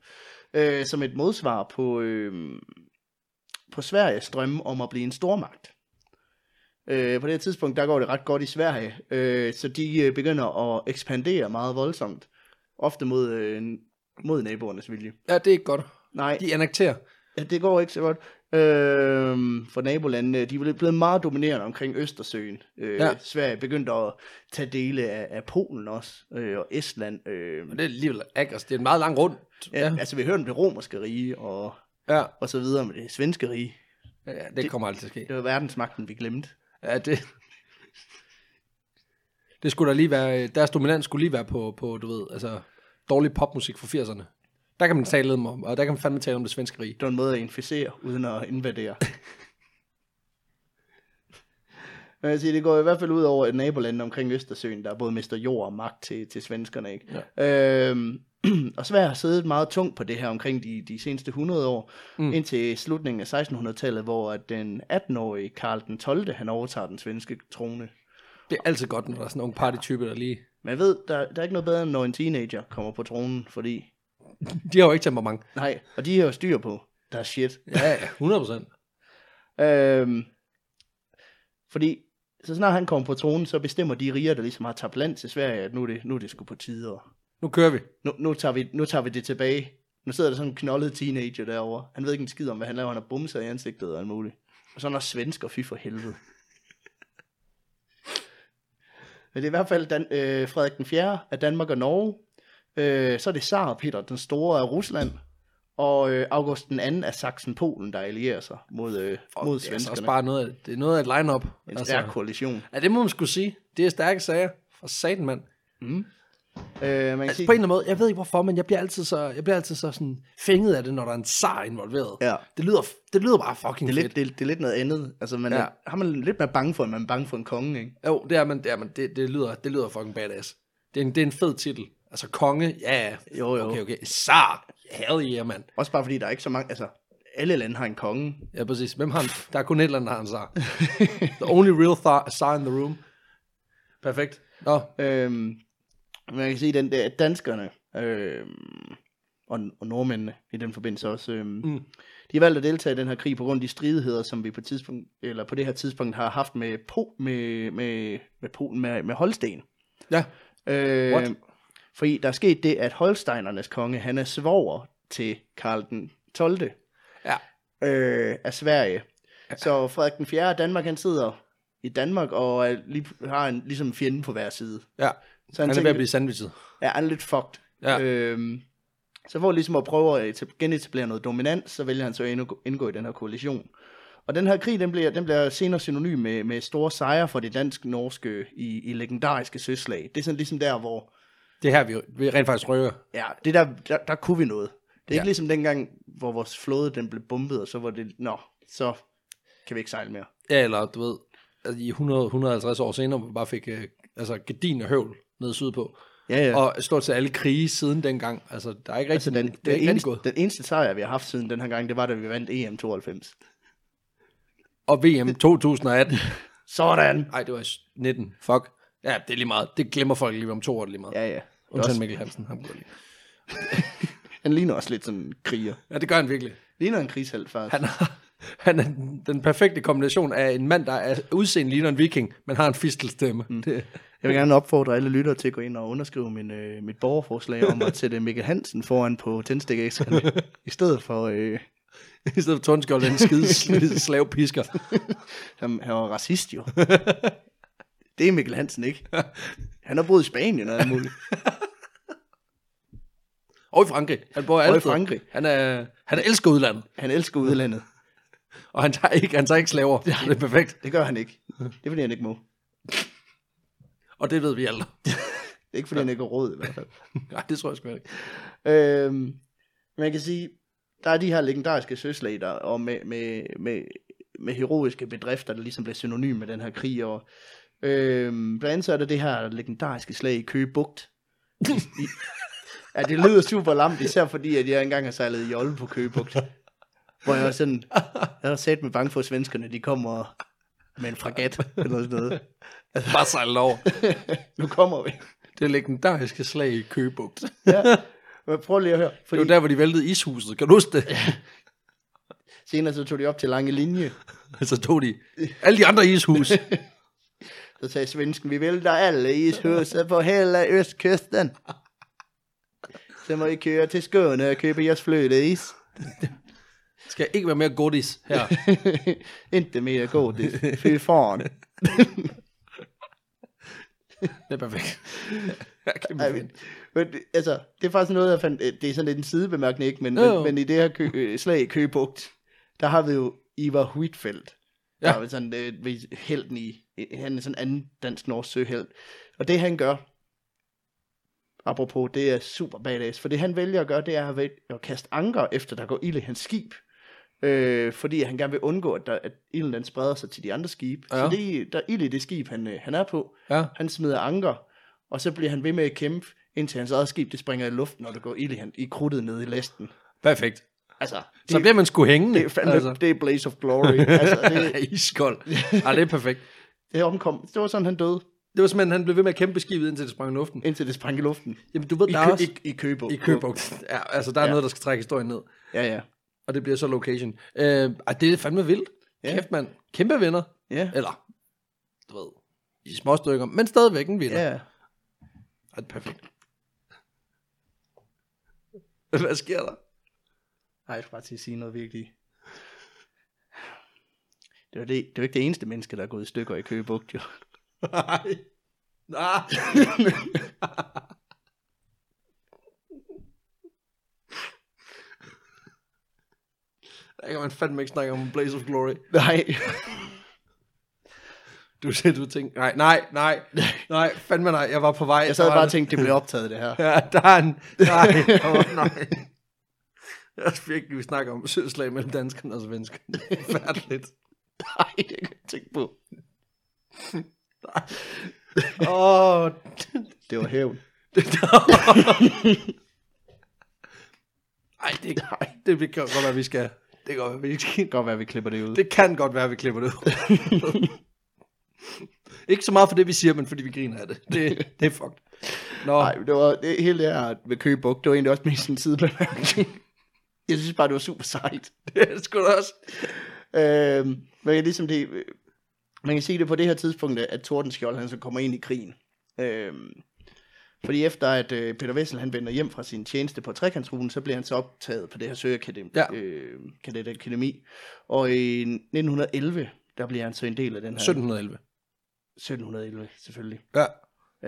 S2: øh, som et modsvar på, øh, på Sveriges drømme om at blive en stormagt. Øh, på det her tidspunkt, der går det ret godt i Sverige, øh, så de øh, begynder at ekspandere meget voldsomt. Ofte mod, øh, mod naboernes vilje.
S1: ja, det er ikke godt.
S2: Nej,
S1: De annekterer.
S2: ja, det går ikke så godt. Øhm, for nabolandene, de er blevet meget dominerende omkring Østersøen. Øh,
S1: Ja.
S2: ja. Sverige begyndte at tage dele af, af Polen også, øh, og Estland. Øh,
S1: Men det er alligevel aggressivt. Det er en meget lang rund.
S2: ja. Altså, vi hørte om det romerske rige, og,
S1: ja.
S2: og så videre med det svenske rige.
S1: ja det, det kommer aldrig til at ske.
S2: Det var verdensmagten, vi glemte.
S1: Ja, det... øh, Det skulle da lige være, deres dominans skulle lige være på, på du ved, altså dårlig popmusik fra 80'erne. Der kan man tale om, og der kan man fandme tale om det svenske rige.
S2: Det var en måde at inficere, uden at invadere. Men jeg siger, det går i hvert fald ud over et naboland omkring Østersøen, der både mister jord og magt til, til svenskerne. Ikke? Ja. Øhm, og Sverige har siddet meget tungt på det her omkring de, de seneste 100 år, mm. indtil slutningen af 1600-tallet, hvor at den 18-årige Karl den 12. han overtager den svenske trone.
S1: Det er altid godt, når der er sådan nogle partytype, der lige...
S2: Man ved, der, der er ikke noget bedre, end når en teenager kommer på tronen, fordi...
S1: De har jo ikke temperament.
S2: Nej, og de har jo styr på, der er shit.
S1: Ja, ja, 100 procent.
S2: Øhm, fordi så snart han kommer på tronen, så bestemmer de riger, der ligesom har tabt land til Sverige, at nu er det, nu er det sgu på tide. Og
S1: Nu kører vi.
S2: nu, nu, tager vi, nu tager vi det tilbage. Nu sidder der sådan en knoldet teenager derovre. Han ved ikke en skid om, hvad han laver. Han har bumser i ansigtet og alt muligt. Og så er han også svensker, fy for helvede. Men det er i hvert fald Dan, øh, Frederik den 4. af Danmark og Norge. Øh, så er det Tsar Peter den Store af Rusland. Og øh, August den 2. af Sachsen-Polen, der allierer sig mod, øh, mod
S1: Det er altså også
S2: svenskerne.
S1: bare noget, af- det er noget af et line-up. Altså,
S2: En stærk koalition.
S1: ja, det må man skulle sige. Det er stærke sager. For satan, mand.
S2: Øh, man kan
S1: Altså
S2: sige,
S1: på en eller anden måde, jeg ved ikke hvorfor, men jeg bliver altid så, jeg bliver altid så sådan fænget af det, når der er en zar involveret.
S2: Ja.
S1: Det lyder, det lyder bare fucking
S2: det, er
S1: fedt.
S2: lidt, det, er, det er lidt noget andet. Altså, man ja.
S1: Ja.
S2: er, har man lidt mere bange for, end man er bange for en konge, ikke?
S1: Jo, det er man, det er man. Det, det, lyder, det lyder fucking badass. Det er en, det er en fed titel. Altså konge, ja, ja.
S2: Jo, jo.
S1: Okay, okay. Zar. Hell yeah, mand.
S2: Også bare fordi, der er ikke så mange... Altså, alle lande har en konge.
S1: Ja, præcis. Hvem har en, Der er kun et eller andet, der har en zar. the only real thar, zar in the room. Perfekt. Nå,
S2: Øhm, man kan sige, den der, at danskerne øhm, og, og nordmændene i den forbindelse også, øhm, mm. de har valgt at deltage i den her krig på grund af de stridigheder, som vi på, tidspunkt, eller på det her tidspunkt har haft med, po, med, med, med Polen, med, med Holsten.
S1: ja. What?
S2: Øh, fordi der er sket det, at Holsteinernes konge, han er svoger til Karl den 12.
S1: Ja.
S2: øh, af Sverige. Så Frederik den 4. af Danmark, han sidder i Danmark og er, lige, har en ligesom en fjende på hver side.
S1: ja.
S2: Så
S1: Han er ved
S2: tænker-
S1: at blive sandwichet.
S2: Ja, han er lidt fucked.
S1: Ja.
S2: Øhm, så for ligesom at prøve at etab- genetablere noget dominans, så vælger han så at indgå- indgå i den her koalition. Og den her krig, den bliver, den bliver senere synonym med, med store sejre for det dansk-norske i, i legendariske søslag. Det er sådan ligesom der, hvor
S1: Det er her, vi, vi rent faktisk rører.
S2: ja, det der, der, der kunne vi noget. Det er ja.
S1: Ja.
S2: ikke ligesom dengang, hvor vores flåde den blev bombet, og så var det, nå, så kan vi ikke sejle mere.
S1: Ja, eller du ved, altså, i 100, 150 år senere, hvor man bare fik øh, altså, gedin og høvl nede sydpå.
S2: Ja, ja.
S1: Og stort set alle krige siden dengang. Altså, der er ikke rigtig,
S2: Så den,
S1: det er ikke
S2: den,
S1: rigtig
S2: eneste,
S1: gået.
S2: den eneste sejr, vi har haft siden den her gang, det var, da vi vandt E EM92.
S1: Og VM 2018.
S2: Sådan!
S1: Nej, det var i s- 19. Fuck. Ja, det er lige meget. Det glemmer folk lige om to år lige meget. Ja,
S2: Ja, ja.
S1: Undtagen Mikkel Hansen. Ham går lige.
S2: Han ligner også lidt sådan en kriger.
S1: Ja, det gør han virkelig.
S2: Ligner en krigshelt, faktisk.
S1: Han, har, han er den- den perfekte kombination af en mand, der er udseende ligner en viking, men har en fistelstemme. Mm. Det,
S2: Jeg vil gerne opfordre alle lyttere til at gå ind og underskrive min, øh, mit borgerforslag om at sætte Mikkel Hansen foran på tændstikæskerne, i stedet for, øh,
S1: I stedet for Tornskjold, den skide slid- slavepisker.
S2: han, han var racist jo. Det er Mikkel Hansen ikke. Han har boet i Spanien og alt muligt.
S1: Og i Frankrig. Han bor altid.
S2: Frankrig.
S1: Han, er, han elsker udlandet,
S2: Han elsker udlandet.
S1: og han tager ikke, han tager ikke slaver. Så det er perfekt.
S2: Det gør han ikke. Det er fordi, han ikke må. Det
S1: Og det ved vi alle.
S2: er ikke fordi, han ikke har råd i hvert fald.
S1: Nej, det tror jeg sgu ikke.
S2: Øhm, man kan sige, der er de her legendariske søslag, der, og med, med, med, med heroiske bedrifter, der ligesom bliver synonym med den her krig. Og, øhm, blandt andet så er der det her legendariske slag i Køge Bugt. I, i, ja, det lyder super lamt, især fordi, at jeg engang har sejlet jolle på Køge Bugt. Hvor jeg var sådan, jeg var sat med bange for, at svenskerne de kommer med en fragat eller sådan noget.
S1: Altså, Bare sejl over.
S2: nu kommer vi.
S1: Det legendariske slag i Køgebugt. Det
S2: Ja. Men prøv lige at høre. Fordi...
S1: var der, hvor de væltede ishuset. Kan du huske det?
S2: Senere så tog de op til lange linje.
S1: Så tog de alle de andre ishus.
S2: Så sagde svensken, vi vælter alle ishuset på hele østkysten. Så må I køre til Skåne og købe jeres flødeis.
S1: Skal ikke være mere godis her.
S2: Inte mere godis. Fy faren.
S1: Det er perfekt. Ja, kæmpe
S2: Ej,
S1: fedt.
S2: men, men, det- altså, det er faktisk noget, jeg fandt, det er sådan lidt en sidebemærkning, ikke? Men,
S1: Jo, jo.
S2: men, men i det her kø, øh, slag i Køgebugt, der har vi jo Ivar Huitfeldt. Ja. Der
S1: Ja.
S2: er jo sådan øh, ved- øh, helten i, han er sådan anden dansk-norsk søhelt. Og det han gør, apropos, det er super badass. For det han vælger at gøre, det er at, vælge at kaste anker, efter der går ild i hans skib. Øh, fordi han gerne vil undgå, at, der, at ilden den spreder sig til de andre skibe. Ja.
S1: Ja.
S2: Så det, der er ild i det skib, han, øh, han er på.
S1: Ja.
S2: Han smider anker, og så bliver han ved med at kæmpe, indtil hans eget skib det springer i luften, når der går ild i, han, i krudtet nede i lasten.
S1: Perfekt.
S2: Altså, det,
S1: Så bliver man sgu hængende.
S2: det, er fandme,
S1: altså.
S2: altså. det er Blaze of Glory. altså, det,
S1: Iskold. Ej, det er perfekt.
S2: det omkom. Det var sådan, han døde,
S1: Det var simpelthen, han blev ved med at kæmpe skibet, indtil det sprang i luften.
S2: indtil det sprang i luften.
S1: Jamen, du ved,
S2: I,
S1: der er
S2: kø,
S1: også...
S2: i, i Købo.
S1: I Købog. Ja, altså, der er
S2: Ja.
S1: ja. noget, der skal trække historien ned.
S2: Ja, ja.
S1: Og det bliver så location. Øh, ej, det er fandme vildt.
S2: Ja.
S1: Ja. Kæft, mand. Kæmpe venner.
S2: Ja,
S1: Eller, du ved, i små stykker, men stadigvæk en vinder. Ja.
S2: ja.
S1: Ej, det er perfekt. Hvad sker der?
S2: Nej, jeg skulle bare til at sige noget virkelig. Det var, det, det var ikke det eneste menneske, der er gået i stykker i Køge Bugt, jo.
S1: Nej. Nej. Der kan man fandme ikke snakke om en Blaze of Glory.
S2: Nej.
S1: Du sagde, du tænkte, nej, nej, nej, nej, fandme nej, jeg var på vej.
S2: Jeg sad
S1: Der var
S2: bare og
S1: en-
S2: tænkte, det blev optaget, det her.
S1: Ja, der er en, nej, oh, nej. Det er også virkelig, vi snakker om sødslag mellem danskerne og svenskerne. Færdeligt.
S2: Nej, det kan jeg ikke tænke på.
S1: Åh, oh,
S2: Det var hævn.
S1: nej, det, det, det kan godt være, vi skal. Det kan godt være, vi skal.
S2: Det kan godt være, vi klipper det ud.
S1: Det kan godt være, vi klipper det ud. Ikke så meget for det, vi siger, men fordi vi griner af det. Det, det er fucked. Nå,
S2: Nej, det var det, hele det her med Køge Bugt, det var egentlig også mest en sidebemærkning. Jeg synes bare, det var super sejt.
S1: det er sgu da også.
S2: Øh, men ligesom det, øh, man kan sige det på det her tidspunkt, at Tordenskjold han så kommer ind i krigen. Øh, fordi efter at øh, Peter Vessel han vender hjem fra sin tjeneste på trekantsruten, så bliver han så optaget på det her søgeakademi.
S1: Ja.
S2: Øh, kadetakademi. Og i 1911, der bliver han så en del af den her.
S1: 1711.
S2: 1711, selvfølgelig.
S1: Ja.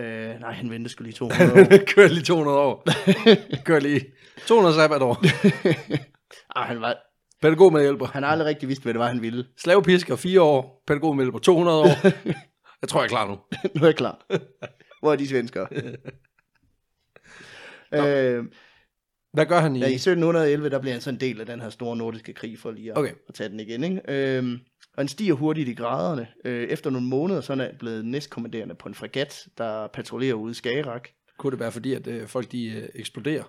S2: Øh, nej, han venter skulle lige 200 år.
S1: Kør lige 200 år. Kør lige 200 sabbatår.
S2: Ej, han, var,
S1: Pædagog med hjælper.
S2: han har aldrig rigtig vidst, hvad det var, han ville.
S1: Slavepisker 4 år. Pædagog med hjælper 200 år. Jeg tror, jeg er klar nu.
S2: nu er jeg klar. Hvor er de svenskere? øh,
S1: Hvad gør han i?
S2: Ja, i 1711, der bliver han så en del af den her store nordiske krig, for lige at, okay.
S1: Okay.
S2: at tage den igen. Ikke? Øhm, og han stiger hurtigt i graderne. Øh, efter nogle måneder, så er han blevet næstkommanderende på en fregat, der patruljerer ude i Skagerak.
S1: Kunne det være fordi, at øh, folk de øh, eksploderer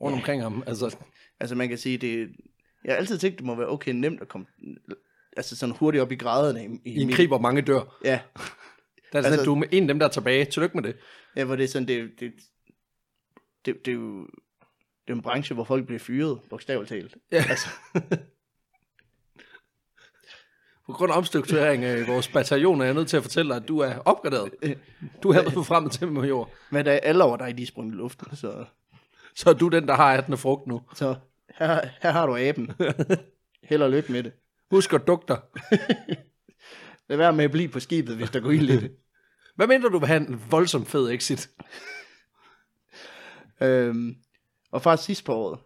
S1: rundt
S2: Ja.
S1: omkring ham? Altså,
S2: Altså man kan sige, det, jeg har altid tænkt, det må være okay nemt at komme altså sådan hurtigt op i graderne. I,
S1: i en
S2: min-
S1: krig, hvor mange dør.
S2: Ja,
S1: Der er sådan,
S2: Altså-
S1: altså, at du er med en af dem, der er tilbage. Tillykke med det.
S2: ja, hvor det er sådan, det, det, det, det er jo det er en branche, hvor folk bliver fyret, bogstaveligt talt.
S1: Ja. Altså. På grund af omstrukturering af vores bataljon er jeg nødt til at fortælle dig, at du er opgraderet. Du er hermed på frem til major.
S2: Men der er alle over dig, de er sprunget i luften, så,
S1: Så er du den, der har 18. frugt nu.
S2: så her, her har du aben. Held og lykke med det.
S1: Husk at dukke dig.
S2: Lad være med at blive på skibet, hvis der går ild i det.
S1: Hvad mener du vil have en voldsom fed exit?
S2: øhm, og faktisk sidst på året,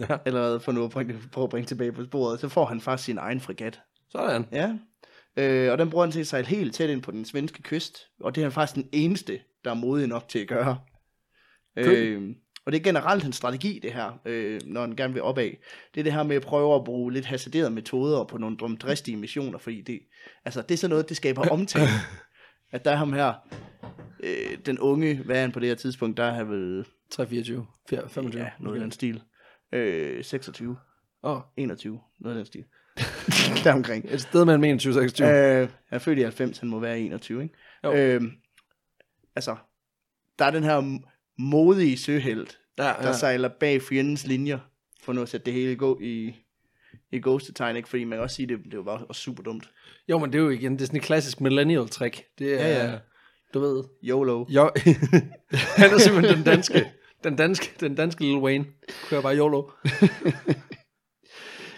S1: Ja,
S2: allerede for nu at bringe, det- prøve at bringe tilbage på sporet, så får han faktisk sin egen fregat.
S1: sådan.
S2: Ja. Øh, og den bruger han til at sejle helt tæt ind på den svenske kyst, og det er han faktisk den eneste, der er modig nok til at gøre.
S1: Køben.
S2: Øh, og det er generelt hans strategi, det her, øh, når han gerne vil opad. Det er det her med at prøve at bruge lidt hasarderede metoder på nogle drømdristige missioner, fordi det, altså, det er sådan noget, det skaber omtale. at der er ham her, øh, den unge, hvad er han på det her tidspunkt, der er han vel
S1: 3, 24, 4, 25.
S2: Ja, noget i den stil. Øh, 26,
S1: Åh,
S2: 21, noget i den stil. Der omkring.
S1: et sted mellem 21 og 26.
S2: Øh, han er født i 90, han må være 21, ikke?
S1: Jo.
S2: Øh, altså, der er den her m- modige søhelt,
S1: ja,
S2: der sejler bag fjendens linjer, for nu at sætte det hele gå i, i ghost-tegn, ikke? Fordi man kan også sige, det, det var også super dumt.
S1: Jo, men det er jo igen, det er sådan et klassisk millennial trick. Det er,
S2: Ja,
S1: ja,
S2: ja.
S1: ja. du ved.
S2: YOLO.
S1: Jo, han er simpelthen den danske, den danske, den danske Lil Wayne. Kører bare YOLO.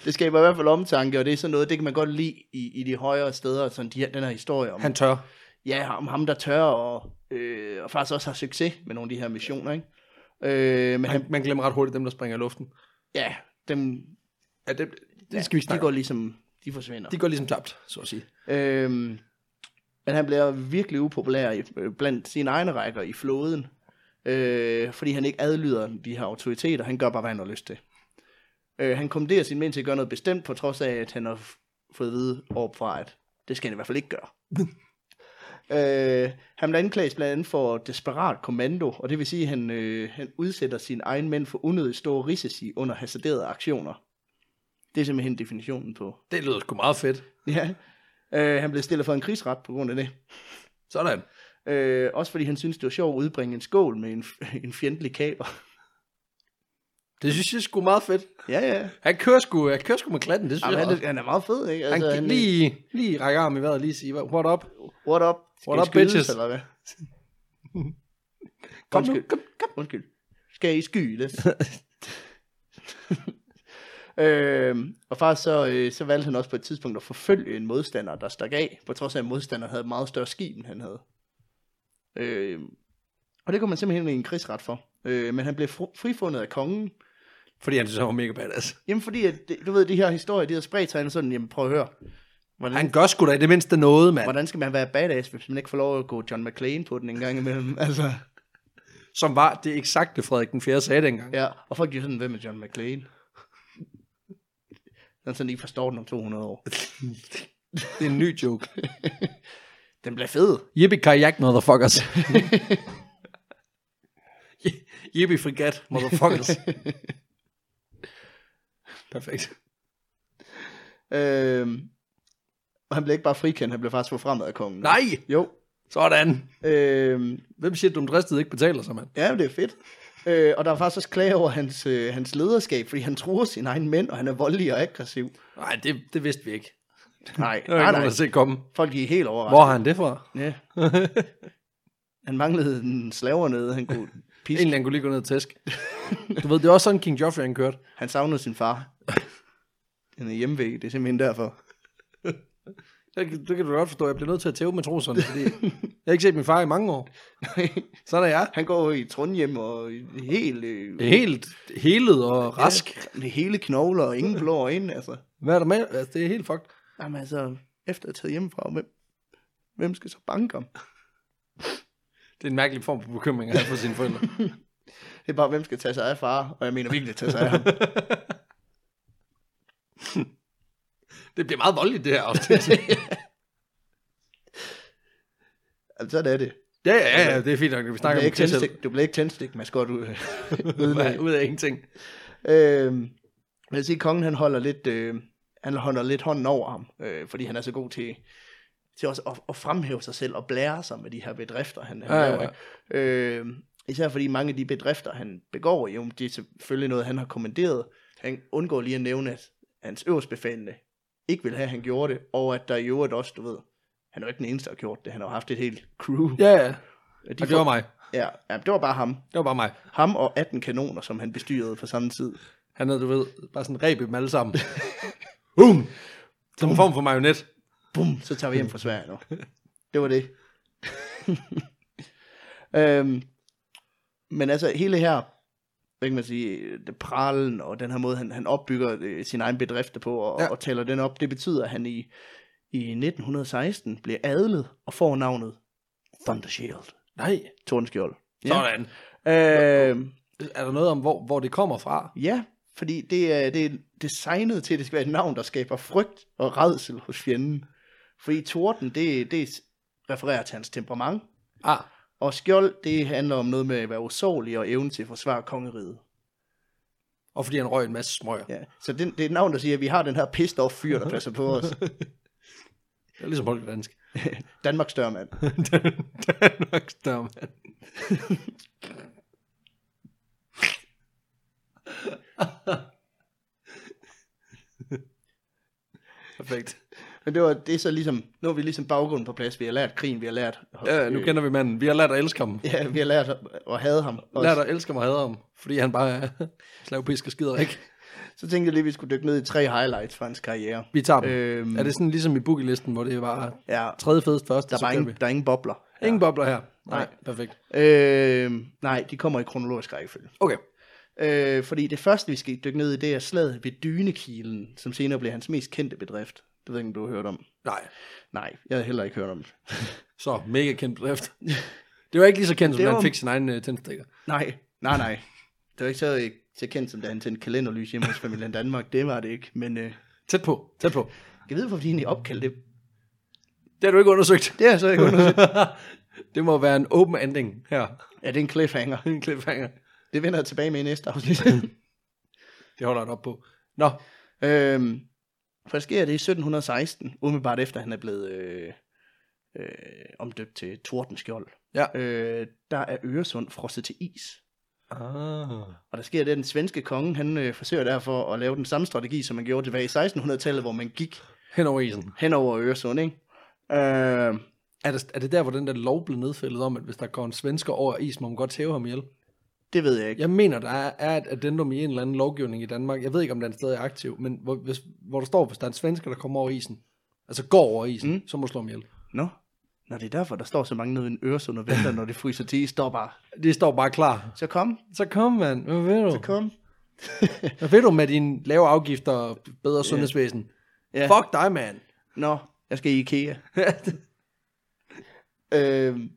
S2: Det skaber i hvert fald omtanke, og det er sådan noget, det kan man godt lide i, i de højere steder, sådan de her, den her historie om,
S1: Han tør.
S2: ja, om ham, der tør, og, øh, og faktisk også har succes med nogle af de her missioner, ikke? Øh, men han,
S1: Han, man glemmer ret hurtigt dem, der springer i luften.
S2: ja, dem,
S1: Ja, det,
S2: ja,
S1: det skal vi
S2: de
S1: snakke
S2: går
S1: om.
S2: ligesom, de forsvinder.
S1: De går ligesom tabt, så at sige.
S2: Øhm, men han bliver virkelig upopulær i, øh, blandt sine egne rækker i flåden. Øh, fordi han ikke adlyder de her autoriteter, han gør bare, hvad han har lyst til. Øh, han kommanderer sin mænd til at gøre noget bestemt, på trods af, at han har f- fået at vide overfra, at det skal han i hvert fald ikke gøre. øh, han bliver anklaget blandt andet for desperat kommando, og det vil sige, at han, øh, han udsætter sine egne mænd for unødigt store risici under hasarderede aktioner. Det er simpelthen definitionen på.
S1: Det lyder sgu meget fedt.
S2: Ja. Øh, han blev stillet for en krigsret på grund af det.
S1: Sådan.
S2: Øh, også fordi han synes det var sjovt at udbringe en skål med en, f- en fjendtlig kaber.
S1: Det synes jeg sgu meget fedt.
S2: ja, ja.
S1: Han kører sgu, han kører sgu med klatten, det synes
S2: Jamen,
S1: jeg
S2: han,
S1: også.
S2: er, han er meget fed, ikke? Altså, øh,
S1: Han gik lige, lige række arm i vejret og lige sige, what up?
S2: What up? Skal
S1: What
S2: I
S1: up,
S2: skydes,
S1: bitches?
S2: Eller hvad?
S1: Kom nu,
S2: Undskyld.
S1: kom, kom.
S2: Undskyld. Skal I skyde? øhm, og faktisk så, øh, så valgte han også på et tidspunkt at forfølge en modstander, der stak af, på trods af, at modstanderen havde et meget større skib, end han havde. Øhm, og det kom man simpelthen i en krigsret for. Øh, men han blev fru- frifundet af kongen,
S1: Fordi han synes, han var mega badass.
S2: Jamen fordi, at, det- du ved, de her historier, de har spredt sig, han er sådan, jamen prøv at høre, hvordan,
S1: Han gør sgu da i det mindste noget, mand.
S2: hvordan skal man være badass, hvis man ikke får lov at gå John McClane på den en gang imellem? altså,
S1: Som var det eksakte, Frederik den 4. sagde dengang.
S2: ja, og folk de er sådan, hvem er John McClane? Den sådan, I forstår den om 200 år.
S1: Det er en ny joke.
S2: Den bliver fed.
S1: Yippie kajak, motherfuckers. Yippie frigat, motherfuckers. Perfekt.
S2: Øhm, og han blev ikke bare frikendt, han blev faktisk forfremmet af kongen.
S1: Nej,
S2: Jo.
S1: sådan.
S2: Øhm,
S1: Hvem siger, at Dum Dristed ikke betaler sig, mand?
S2: Ja, men det er fedt. Øh, og der er faktisk også klage over hans, øh, hans lederskab, fordi han truer sine egne mænd, og han er voldelig og aggressiv.
S1: Nej, det, det vidste vi ikke.
S2: Nej,
S1: Det var ikke
S2: nej, nej.
S1: nogen, der se komme.
S2: Folk de er helt overrasket.
S1: Hvor har han det fra?
S2: Ja. han manglede en slaver nede, han kunne piske.
S1: Egentlig, han kunne lige gå ned og tæsk. Du ved, det var også sådan, King Joffrey han kørte.
S2: Han savnede sin far. Han er hjemme ved, det er simpelthen derfor.
S1: Det, kan- det kan du godt forstå. Jeg bliver nødt til at tæve matroserne, fordi jeg har ikke set min far i mange år. Sådan er jeg.
S2: han går i Trondhjem og i- helt... Øh,
S1: Helt helet og rask.
S2: Med hele knogler og ingen blå øjne, altså.
S1: Hvad er der med? Altså, det er helt fucked.
S2: Jamen altså, efter at have taget hjemmefra, hvem, hvem skal så banke om?
S1: Det er en mærkelig form for bekymring at have for sine forældre.
S2: Det er bare, hvem skal tage sig af far? Og jeg mener virkelig tage sig af ham.
S1: Det bliver meget voldeligt, det her afsnit.
S2: altså, sådan er det.
S1: ja, ja, ja, Altså, det er fint nok, at vi
S2: Du
S1: snakker
S2: bliver,
S1: om
S2: ikke
S1: Kessel.
S2: tændstik, du øh, bliver ikke tændstik, man skal ud.
S1: Ud af- Ud af ingenting.
S2: Øhm, jeg vil sige, kongen han holder lidt, øh, han holder lidt hånden over ham, øh, fordi han er så god til, til også at, at fremhæve sig selv og blære sig med de her bedrifter, han, han
S1: Ja,
S2: ja,
S1: ja,
S2: laver. Ja. Øh, især fordi mange af de bedrifter, han begår, jo, det er selvfølgelig noget, han har kommanderet. Han undgår lige at nævne, at hans øverstbefalende ikke vil have, at han gjorde det, og at der i øvrigt også, du ved, han er jo ikke den eneste, der har gjort det. Han har jo haft et helt crew.
S1: Ja, ja.
S2: De
S1: Og det var mig.
S2: Ja, ja, det var bare ham.
S1: Det var bare mig.
S2: Ham og 18 kanoner, som han bestyrede på samme tid.
S1: Han havde, du ved, bare sådan rebet dem alle sammen. Boom! Som en form for marionet.
S2: bum, så tager vi hjem fra Sverige nu. Det var det. øhm, men altså hele her, hvad kan man sige, det prallen og den her måde, han, han opbygger øh, sin egen bedrifter på og,
S1: Ja.
S2: ja. og tæller den op, det betyder, at han i, i 1916 bliver adlet og får navnet Thundershield.
S1: Nej,
S2: Tordenskjold. Ja.
S1: sådan.
S2: Øhm,
S1: Er der noget om, hvor, hvor det kommer fra?
S2: ja, fordi det er, det er designet til, at det skal være et navn, der skaber frygt og redsel hos fjenden. Fordi torden, det, det refererer til hans temperament.
S1: Ah,
S2: Og skjold, det handler om noget med at være usårlig og evne til at forsvare kongeriget.
S1: og fordi han røg en masse smøger.
S2: Ja. Så det, det er et navn, der siger, at vi har den her pissed off fyr, der passer på os.
S1: Det er ligesom folkedansk.
S2: Danmarks dørmand.
S1: Danmarks dørmand. Perfekt.
S2: Men det, var, det er så ligesom, nu har vi ligesom baggrunden på plads. Vi har lært krigen, vi har lært... øh,
S1: Ja, nu kender vi manden. Vi har lært at elske ham.
S2: Ja, vi har lært at, at hade ham. Også.
S1: Lært at elske ham og hader ham, fordi han bare er slavpisk og skider ikke.
S2: Så tænkte jeg lige, at vi skulle dykke ned i tre highlights fra hans karriere.
S1: Vi tager dem.
S2: Øhm,
S1: Er det sådan ligesom i bookielisten, hvor det var
S2: Ja,
S1: tredje fedest første,
S2: der er,
S1: så
S2: bare
S1: ingen,
S2: ingen, der er ingen bobler.
S1: ja. ingen bobler her. Nej,
S2: Nej.
S1: perfekt.
S2: Øh, nej, de kommer i kronologisk rækkefølge.
S1: Okay.
S2: Øh, fordi det første, vi skal dykke ned i, det er slaget ved Dynekilen, som senere blev hans mest kendte bedrift. Det ved jeg ikke, om du har hørt om.
S1: Nej.
S2: Nej, jeg har heller ikke hørt om det.
S1: Så mega kendt bedrift. Det var ikke lige så kendt, som
S2: Det
S1: da
S2: var-
S1: han fik sin egen øh, tændstikker.
S2: Nej, nej, nej. Det var ikke så, øh, så kendt, som da han tændte kalenderlys hjemme hos familien Danmark. Det var det ikke, men... Øh,
S1: Tæt på, tæt på.
S2: jeg ved, hvorfor de egentlig opkaldte det.
S1: Det har du ikke undersøgt.
S2: Det er så ikke undersøgt.
S1: det må være en open ending her.
S2: Ja, det er en cliffhanger.
S1: En cliffhanger.
S2: Det vender jeg tilbage med i næste afsnit.
S1: Det holder han op på. Nå,
S2: øhm, for der sker det i 1716, umiddelbart efter han er blevet øh, øh, omdøbt til Tordenskjold.
S1: Ja.
S2: Øh, der er Øresund frosset til is.
S1: Ah.
S2: Og der sker det, at den svenske konge, han øh, forsøger derfor at lave den samme strategi, som man gjorde tilbage i 1600-tallet, hvor man gik
S1: Hen over isen.
S2: hen over Øresund, ikke? Øh,
S1: Er det, er det der, hvor den der lov blev nedfældet om, at hvis der går en svensker over is, må man godt hæve ham ihjel?
S2: det ved jeg ikke.
S1: Jeg mener, der er, er et addendum i en eller anden lovgivning i Danmark. Jeg ved ikke, om den stadig er aktiv, men hvor, hvis, hvor der står, hvis der er en svensker, der kommer over isen, altså går over isen, mm. så må du slå ham ihjel.
S2: Nå? Nå, det er derfor, der står så mange nede i en Øresund og venter, når det fryser til is. Står bare,
S1: Det står bare klar.
S2: så kom,
S1: Så kom, mand. Hvad ved du?
S2: så kom.
S1: Hvad ved du med dine lave afgifter og bedre sundhedsvæsen?
S2: Ja.
S1: Fuck dig, mand.
S2: Nå, jeg skal i IKEA. Øhm,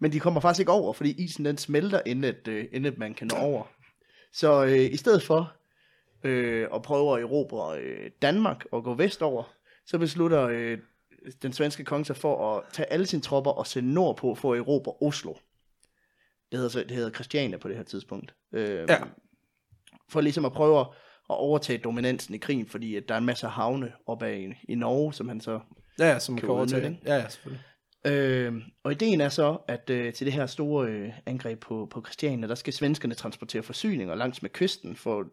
S2: men de kommer faktisk ikke over, fordi isen den smelter, inden, at, øh, inden at man kan nå over. Så øh, i stedet for øh, at prøve at erobre øh, Danmark og gå vestover, så beslutter øh, den svenske konge sig for at tage alle sine tropper og sende nordpå for at erobre Oslo. Det hedder, så, det hedder Christiania på det her tidspunkt. Øh,
S1: Ja.
S2: For ligesom at prøve at overtage dominansen i krigen, fordi at der er en masse havne oppe i, i Norge, som han så
S1: Ja, ja, som man
S2: Kan
S1: kan overtage.
S2: udnytte,
S1: Ja, ja, selvfølgelig.
S2: Øh, og ideen er så, at øh, til det her store øh, angreb på, på Christiania, der skal svenskerne transportere forsyninger langs med kysten, for,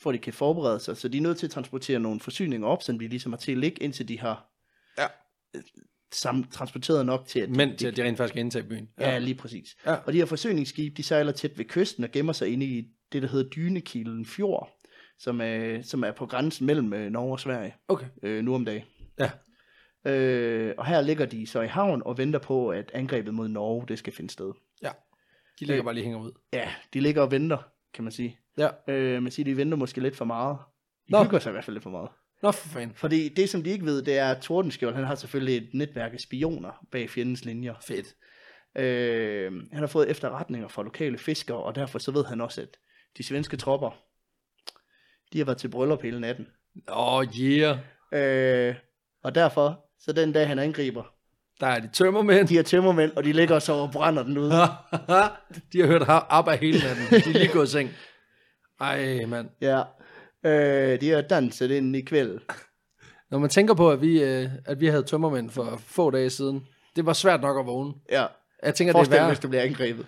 S2: for at de kan forberede sig. Så de er nødt til at transportere nogle forsyninger op, som de ligesom har til at ligge, indtil de har
S1: Ja.
S2: øh, sam- transporteret nok til, at
S1: Men til, at de rent faktisk kan indtage byen.
S2: Ja, lige præcis.
S1: Ja.
S2: Ja. Og de her forsyningsskibe, de sejler tæt ved kysten og gemmer sig inde i det, der hedder Dynekilen Fjord, som er, som er på grænsen mellem øh, Norge og Sverige
S1: Okay.
S2: øh, nu om dagen.
S1: Ja.
S2: Øh, og her ligger de så i havn og venter på, at angrebet mod Norge, det skal finde sted.
S1: De ligger bare lige hænger ud.
S2: Ja, de ligger og venter, kan man sige.
S1: Ja.
S2: Øh, man siger, de venter måske lidt for meget. De
S1: Nå.
S2: Nå. hygger sig i hvert fald lidt for meget.
S1: Nå, for fanden.
S2: Fordi det, som de ikke ved, det er, at Tordenskjold, han har selvfølgelig et netværk af spioner bag fjendens linjer.
S1: Fedt.
S2: Øh, han har fået efterretninger fra lokale fiskere, og derfor så ved han også, at de svenske tropper, de har været til bryllup hele natten.
S1: Åh, oh, yeah.
S2: Øh, og derfor, så den dag han angriber,
S1: Der er de tømmermænd.
S2: de her tømmermænd, og de ligger så og brænder den ud.
S1: de har hørt har- ABBA hele natten. De er lige gået i seng. Ej, mand.
S2: Ja. Øh, de har danset ind i kveld.
S1: Når man tænker på, at vi, øh, at vi havde tømmermænd for få dage siden, det var svært nok at vågne.
S2: Ja.
S1: Jeg tænker, det er
S2: Forestil dig,
S1: værre.
S2: hvis du bliver angrebet.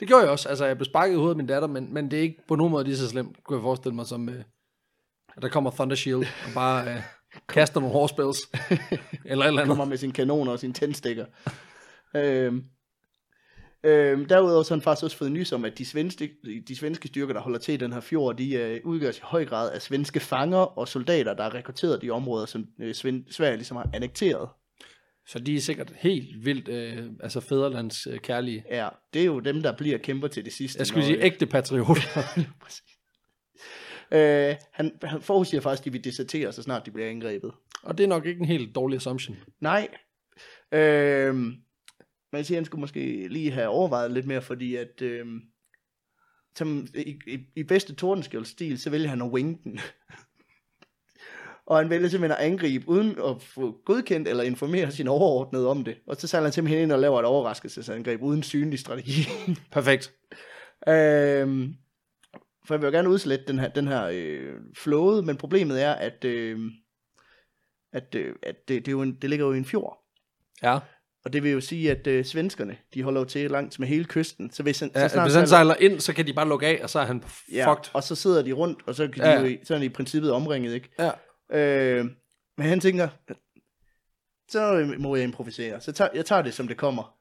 S1: Det gjorde jeg også. Altså, jeg blev sparket i hovedet af min datter, men, men det er ikke på nogen måde lige så slemt, kunne jeg forestille mig, som øh, at der kommer Thunder Shield og bare øh, kaster nogle hårspils. eller et eller
S2: Han
S1: andet.
S2: kommer med sine kanoner og sine tændstikker. øhm, øhm, derudover så har han faktisk også fået nys om, at de svenske, de svenske styrker, der holder til i den her fjord, de øh, udgøres i høj grad af svenske fanger og soldater, der er rekrutteret i de områder, som øh, Sven, Sverige ligesom har annekteret.
S1: Så de er sikkert helt vildt øh, altså fædrelands øh, kærlige.
S2: Ja, det er jo dem, der bliver kæmper til det sidste.
S1: Jeg skulle
S2: når,
S1: sige
S2: øh,
S1: ægte patrioter.
S2: Øh, han, han forudsiger faktisk, at de vil desertere, så snart de bliver angrebet.
S1: og det er nok ikke en helt dårlig assumption.
S2: Nej. Øhm, man siger, han skulle måske lige have overvejet lidt mere, fordi at øhm, som, i, i, i bedste tordenskjoldstil, så vælger han at wing den. og han vælger simpelthen at angribe, uden at få godkendt eller informere sin overordnede om det. Og så sejler han simpelthen ind og laver et overraskelsesangreb uden synlig strategi.
S1: Perfekt.
S2: øhm, for jeg vil jo gerne udslette den her, den her øh, flåde, men problemet er, at, øh, at, øh, at det, det, er jo en, det ligger jo i en fjord.
S1: Ja.
S2: Og det vil jo sige, at øh, svenskerne, de holder jo til langs med hele kysten. Så hvis han,
S1: ja
S2: så snart,
S1: hvis han sejler ind, så kan de bare lukke af, og så er han
S2: ja,
S1: fucked.
S2: og så sidder de rundt, og så, kan de
S1: Ja.
S2: jo, i- så er de i princippet omringet, ikke?
S1: Ja.
S2: Øh, men han tænker, så øh, må jeg improvisere. Så tager, jeg tager det, som det kommer.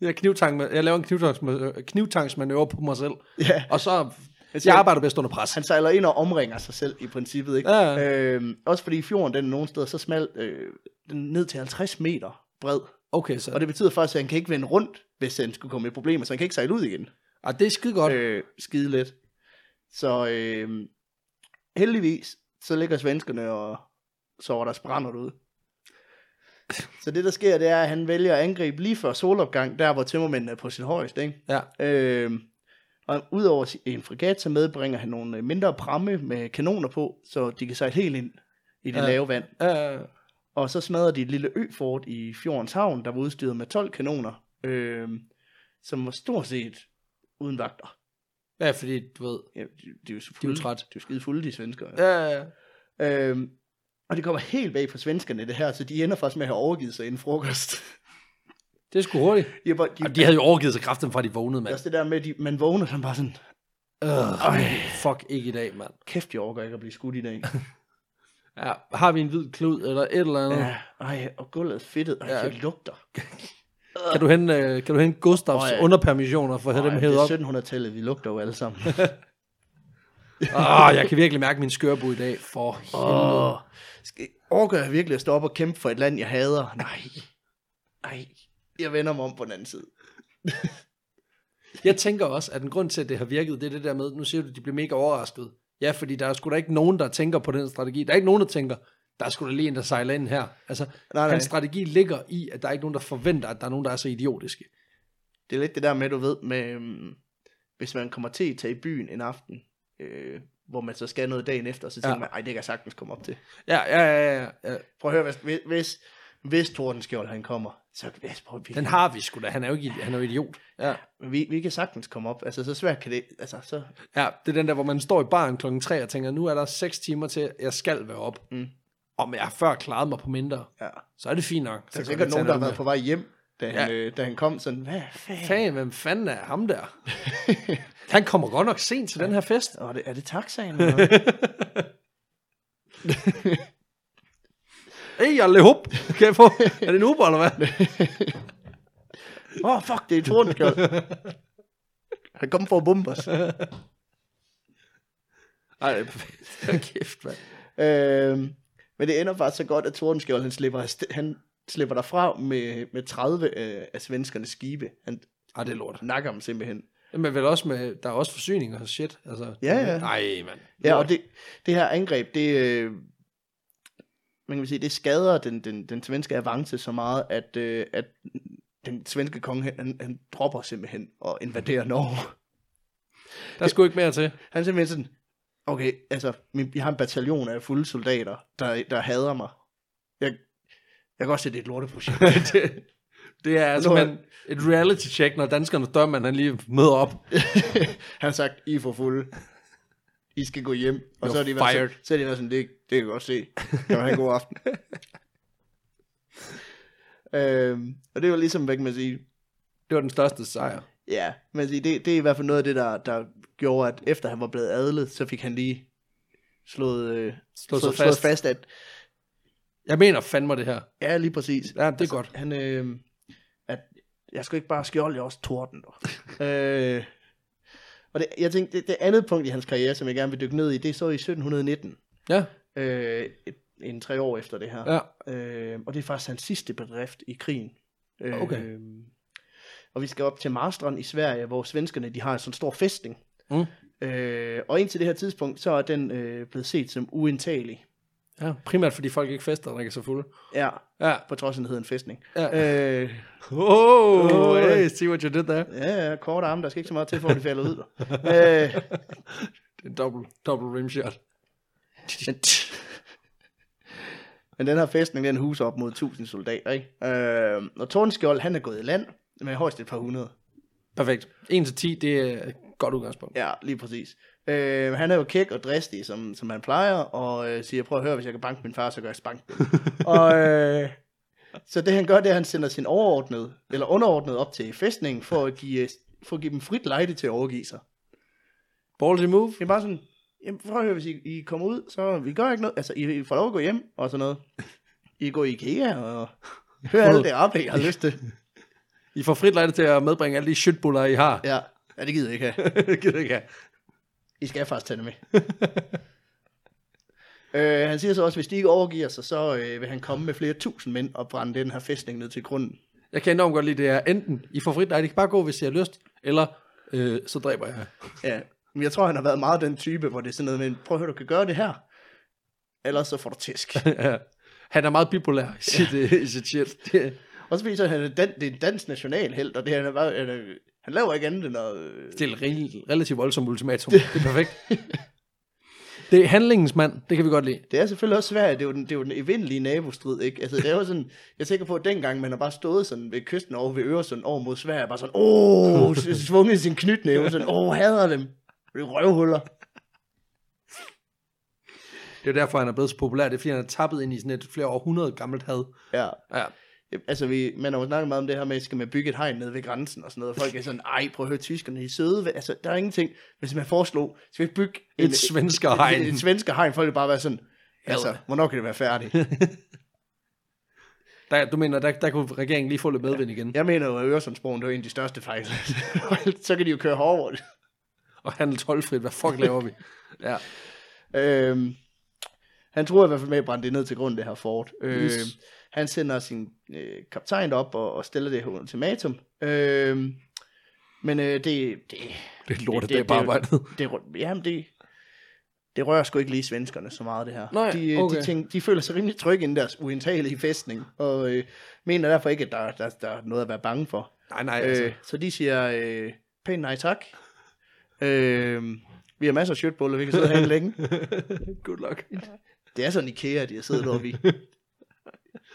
S1: Jeg, knivtang, jeg laver en knivtangsmanøvre, knivtangsmanøvre på mig selv.
S2: Ja,
S1: Og så...
S2: Jeg siger-
S1: Jeg arbejder bedst under pres.
S2: Altså, han sejler ind og omringer sig selv i princippet, ikke?
S1: Ja,
S2: Øh, også fordi fjorden, den er nogle steder så smal, øh, den er ned til 50 meter bred.
S1: Okay, så...
S2: Og det betyder faktisk, at han kan ikke vende rundt, hvis han skulle komme i problemer, så han kan ikke sejle ud igen.
S1: Ah, det er skide godt.
S2: øh, skide let. Så øh, heldigvis, så ligger svenskerne og sover deres brænder ud. Så det, der sker, det er, at han vælger at angribe lige før solopgang, der hvor tømmermændene er på sin højeste, ikke?
S1: Ja.
S2: Øh, og udover si- en fregat, så medbringer han nogle øh, mindre pramme med kanoner på, så de kan sejle helt ind i det
S1: Ja.
S2: ja. lave vand.
S1: Uh,
S2: Og så smadrer de et lille øfort i fjordens havn, der var udstyret med 12 kanoner, øh, som var stort set uden vagter.
S1: ja, fordi du ved...
S2: Ja, de, de er jo så
S1: De er jo
S2: fulde.
S1: træt.
S2: De er jo skide fulde, de svensker. Ja.
S1: Mm. Ja,
S2: Øhm, og det kommer helt bag på svenskerne, det her, så de ender faktisk med at have overgivet sig inden frokost.
S1: det er sgu hurtigt.
S2: De er bare, de,
S1: Og de havde jo overgivet sig kraften fra, de vågnede,
S2: det er
S1: mand.
S2: også det der med, at de, man vågner sådan bare sådan,
S1: Øh, fuck ikke i dag, mand.
S2: kæft, jeg overgår ikke at blive skudt i dag.
S1: Ja, har vi en hvid klud eller et eller andet?
S2: Ja, ej, og gulvet er fedtet, og
S1: Ja.
S2: ja. det lugter.
S1: Kan du hente, øh, kan du hente Gustavs
S2: Åh,
S1: oh,
S2: ja.
S1: underpermissioner for at have
S2: Ej,
S1: dem
S2: det
S1: hævet op?
S2: er 1700-tallet, vi lugter jo alle sammen.
S1: Åh, Ah, jeg kan virkelig mærke min skørbu i dag. For helvede.
S2: Åh, skal, overgår jeg virkelig at stå op og kæmpe for et land, jeg hader? Nej, nej, jeg vender mig om på den anden side.
S1: Jeg tænker også, at en grund til, at det har virket, det er det der med, nu siger du, at de bliver mega overrasket. Ja, fordi der er sgu da ikke nogen, der tænker på den strategi. Der er ikke nogen, der tænker, der er sgu da lige en, der sejler ind her. Altså, nej,
S2: Nej,
S1: nej.
S2: nej.
S1: hans strategi ligger i, at der er ikke nogen, der forventer, at der er nogen, der er så idiotiske.
S2: Det er lidt det der med, du ved, med, øhm, hvis man kommer til at tage i byen en aften, øh, hvor man så skal noget dagen efter, så tænker
S1: Ja.
S2: ja. man, ej, det kan jeg sagtens komme op til.
S1: Ja, ja, ja, ja, ja.
S2: Prøv at høre, hvis, hvis, hvis Tordenskjold han kommer, så kan vi, prøv, vi,
S1: Den har vi sgu da. Han er jo, ikke, han er jo idiot. Ja.
S2: vi, vi kan sagtens komme op. Altså, så svært kan det, altså, så,
S1: ja, det er den der, hvor man står i baren klokken 3 og tænker, nu er der 6 timer til, jeg skal være op.
S2: Mm.
S1: Om jeg har før klaret mig på mindre,
S2: ja.
S1: så er det fint nok.
S2: Der
S1: kan
S2: er sikkert
S1: vi tage
S2: nogen, der har
S1: en øl
S2: været på vej hjem, da han, ja. øh, da han kom sådan, hvad
S1: med.
S2: fanden?
S1: Fan, hvem fanden er ham der? Han kommer godt nok sent til den her fest.
S2: Og er det, er det taxaen? eller hvad?
S1: Hey, jeg hop. Kan jeg få? Er det en Uber, eller hvad?
S2: Åh, oh, fuck, det er Tordenskjold. Han kom for at bombe os.
S1: Ej, det er perfekt. Hold kæft, mand.
S2: Øhm, men det ender faktisk så godt, at Tordenskjold, han slipper, afsted- han slipper derfra med, med 30 øh, af svenskernes skibe. Han
S1: Ej, det er lort.
S2: nakker dem simpelthen.
S1: Men vel også med, der er også forsyninger og shit. Altså,
S2: Ja, ja.
S1: Nej, mand.
S2: Ja, og det, det her angreb, det, øh, man kan sige, det skader den, den, den svenske avance så meget, at, øh, at den svenske konge, han- han, han dropper simpelthen og invaderer Norge.
S1: Der er sgu ikke mere til.
S2: Han er simpelthen sådan, okay, altså, min, jeg har en bataljon af fulde soldater, der, der hader mig. Jeg, jeg kan godt se, det er et lorteprojekt.
S1: det, det er altså
S2: Nå,
S1: man, et reality check, når danskerne dørmand han lige møder op.
S2: han har sagt, I er for fulde. I skal gå hjem. Og
S1: You're
S2: så er de været
S1: fired.
S2: sådan, så er de været sådan, det, det kan jeg godt se. Kan have en god aften. øhm, og det var ligesom, hvad kan man sige,
S1: Det var den største sejr.
S2: ja, man kan sige, det, det er i hvert fald noget af det, der, der gjorde, at efter han var blevet adlet, så fik han lige slået, øh,
S1: Slået sig
S2: slået,
S1: fast.
S2: slået fast, at
S1: Jeg mener fandme det her.
S2: ja, lige præcis.
S1: Ja, det er altså, godt.
S2: Han, øh, at jeg skulle ikke bare skjolde, jeg er også torden. dog. øh, og det, jeg tænkte, det, det andet punkt i hans karriere, som jeg gerne vil dykke ned i, det er så i 1719.
S1: Ja,
S2: Øh, et, en tre år efter det her.
S1: ja.
S2: Øh, og det er faktisk hans sidste bedrift i krigen. Øh,
S1: Okay.
S2: Og vi skal op til Marstrand i Sverige, hvor svenskerne de har en sådan stor fæstning.
S1: Mm.
S2: Øh, og indtil det her tidspunkt, så er den øh, blevet set som uindtagelig.
S1: ja. Primært fordi folk ikke fester og drikker sig fulde.
S2: Ja,
S1: Ja.
S2: på trods af, at den hedder en fæstning.
S1: ja.
S2: Øh,
S1: Oh, hey, see what you did there.
S2: Ja, ja, kort arme, der skal ikke så meget til, for at det falder ud. øh,
S1: Det er en dobbelt, dobbelt rimshot.
S2: men, men den her fæstning, den huser op mod 1000 soldater, ikke? Øh, og Tordenskjold, han er gået i land med højst et par hundrede.
S1: Perfekt. 1 til 10, det er et godt udgangspunkt.
S2: Ja, lige præcis. Øh, han er jo kæk og dristig, som, som han plejer, og øh, siger, prøv at høre, hvis jeg kan banke min far, så gør jeg spank. og, øh, så det han gør, det er, at han sender sin overordnede, eller underordnede op til fæstningen, for at give, for at give dem frit lejde til at overgive sig.
S1: Ballsy move.
S2: Det er bare sådan, jamen, prøv at høre, hvis I, I kommer ud, så vi gør ikke noget. Altså, I, I får lov at gå hjem og sådan noget. I går i IKEA og hører alt det op, jeg har lyst til.
S1: I får frit lejde til at medbringe alle de shitbuller, I har.
S2: Ja, ja det gider jeg ikke have.
S1: det gider jeg ikke have.
S2: I skal faktisk tage det med. øh, han siger så også, at hvis de ikke overgiver sig, så øh, vil han komme med flere tusind mænd og brænde den her fæstning ned til grunden.
S1: Jeg kan enormt godt lide det her. Enten I får frit lejde, I kan bare gå, hvis I har lyst, eller øh, så dræber jeg. jer.
S2: Ja, men jeg tror, han har været meget den type, hvor det er sådan noget med, prøv at høre, du kan gøre det her. Ellers så får du tæsk.
S1: ja. Han er meget bipolær i sit, øh, i sit shit. Det,
S2: Også fordi så han er dan, det er en dansk nationalheld, og det han er bare, han, er, han laver ikke andet end at... øh,
S1: stille re- relativt voldsomt ultimatum. Det er perfekt. Det er handlingens mand, det kan vi godt lide.
S2: Det er selvfølgelig også Sverige, det er jo den, det er jo den evindelige nabostrid, ikke? Altså, det er jo sådan, jeg tænker på, at dengang man har bare stået sådan ved kysten over ved Øresund over mod Sverige, bare sådan, åh, s- svunget sin knytnæve, sådan, åh, hader dem. Det er røvhuller.
S1: Det er jo derfor, han er blevet så populær. Det er fordi, han er tappet ind i sådan et flere århundrede gammelt had.
S2: Ja.
S1: Ja.
S2: Altså, vi, man har jo snakket meget om det her med, at skal man bygge et hegn nede ved grænsen og sådan noget. Folk er sådan, ej, prøv at høre, tyskerne, I er søde. ved-" Altså, der er ingenting. Hvis man foreslog, skal vi ikke bygge
S1: Et svenskerhegn.
S2: Et, et, et svenskerhegn, folk vil bare være sådan, altså,
S1: Ad.
S2: hvornår kan det være færdigt?
S1: Der, du mener, der, der kunne regeringen lige få lidt medvind igen.
S2: Jeg mener jo, at Øresundsbroen, det var en af de største fejl. så kan de jo køre hårdere.
S1: Og handle tolvfrit. Hvad fuck laver vi? Ja.
S2: Øhm, han tror i hvert fald med at brænde det ned til grunden, det her fort. Øhm,
S1: Yes.
S2: Han sender sin øh, kaptajn op og, og stiller det her ultimatum. Øhm, men øh, det, det,
S1: Det er lortet, det,
S2: det-
S1: det,
S2: det-
S1: på arbejdet.
S2: det, rø- jamen det, det rører sgu ikke lige svenskerne så meget, det her.
S1: Nej,
S2: de, øh,
S1: okay.
S2: de, tænker, de føler sig rimelig trygge inden deres uindtagelige fæstning, og øh, mener derfor ikke, at der, der, der er noget at være bange for.
S1: Nej, nej, altså.
S2: Øh, så de siger, øh, pænt nej tak. Øh, vi har masser af shirtboller, vi kan sidde herinde længe.
S1: Good luck.
S2: Det er sådan Ikea, de har siddet oppe i.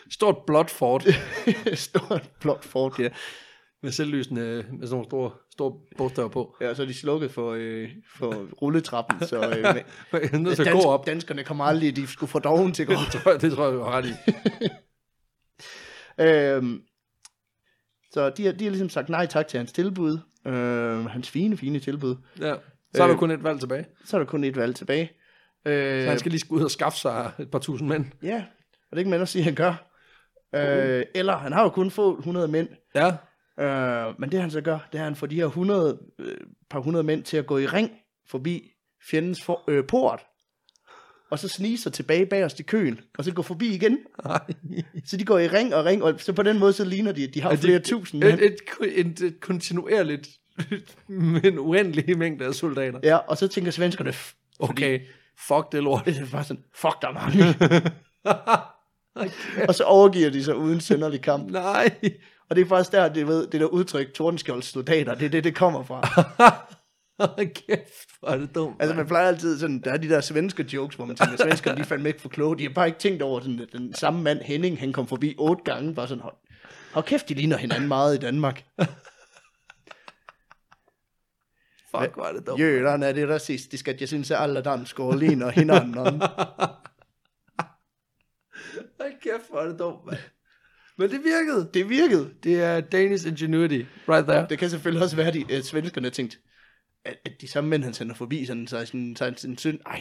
S1: Stort blåt fort
S2: Stort blåt fort, ja.
S1: med selvlysende, øh, med sådan nogle store, store bogstaver på.
S2: ja. og så er de slukket for, øh, for rulletrappen, så, øh, men-
S1: Jeg er nødt til at gå
S2: dansk,
S1: op.
S2: danskerne kommer aldrig, de skulle få doven til at gå.
S1: Det tror jeg, det tror jeg, du har ret i.
S2: øhm, så de har, de har ligesom sagt nej tak til hans tilbud, øh, hans fine, fine tilbud.
S1: Ja. Så har du
S2: Øh.
S1: kun et valg tilbage.
S2: Så er der kun et valg tilbage.
S1: Så
S2: Øh,
S1: han skal lige skulle ud og skaffe sig et par tusind mænd.
S2: Ja, og det kan man også sige, at han gør. Øh, eller, han har jo kun få 100 mænd,
S1: Ja.
S2: Øh, men det han så gør, det er, at han får de her 100, øh, par hundrede mænd til at gå i ring forbi fjendens for, øh, port, og så snige sig tilbage bagerst i køen, og så gå forbi igen.
S1: Nej.
S2: Så de går i ring og ring, og så på den måde, så ligner de, at de har
S1: Og
S2: flere
S1: det-
S2: tusind mænd.
S1: Et, et, et, et kontinuerligt, men uendelige mængde af soldater.
S2: Ja, og så tænker svenskerne, "F-
S1: Okay, fuck det lort.
S2: øh, bare sådan, fuck, der er mange.
S1: Okay.
S2: og så overgiver de sig uden sønderlig kamp.
S1: Nej.
S2: Og det er faktisk der, det, ved, det der udtryk, Tordenskjolds soldater, det er det, det kommer fra.
S1: Hold Kæft, hvor er det dumt.
S2: Altså
S1: Altså,
S2: man plejer altid sådan, der er de der svenske jokes, hvor man tænker, svenskerne de er fandme ikke for kloge, de har bare ikke tænkt over sådan, at den samme mand Henning, han kom forbi otte gange, bare sådan, hold, hold kæft, de ligner hinanden meget i Danmark.
S1: fuck, hvor er det dumt.
S2: Jøderne er det racistisk, at jeg synes, at alle danskere ligner hinanden.
S1: Hold kæft, hvor er det dumt, mand. Men det virkede.
S2: Det virkede.
S1: Det er Danish ingenuity, right there.
S2: Det kan selvfølgelig også være, at, de, at svenskerne tænkte, at, at de samme mænd, han sender forbi, sådan, så er sådan, så er sådan, sådan, ej,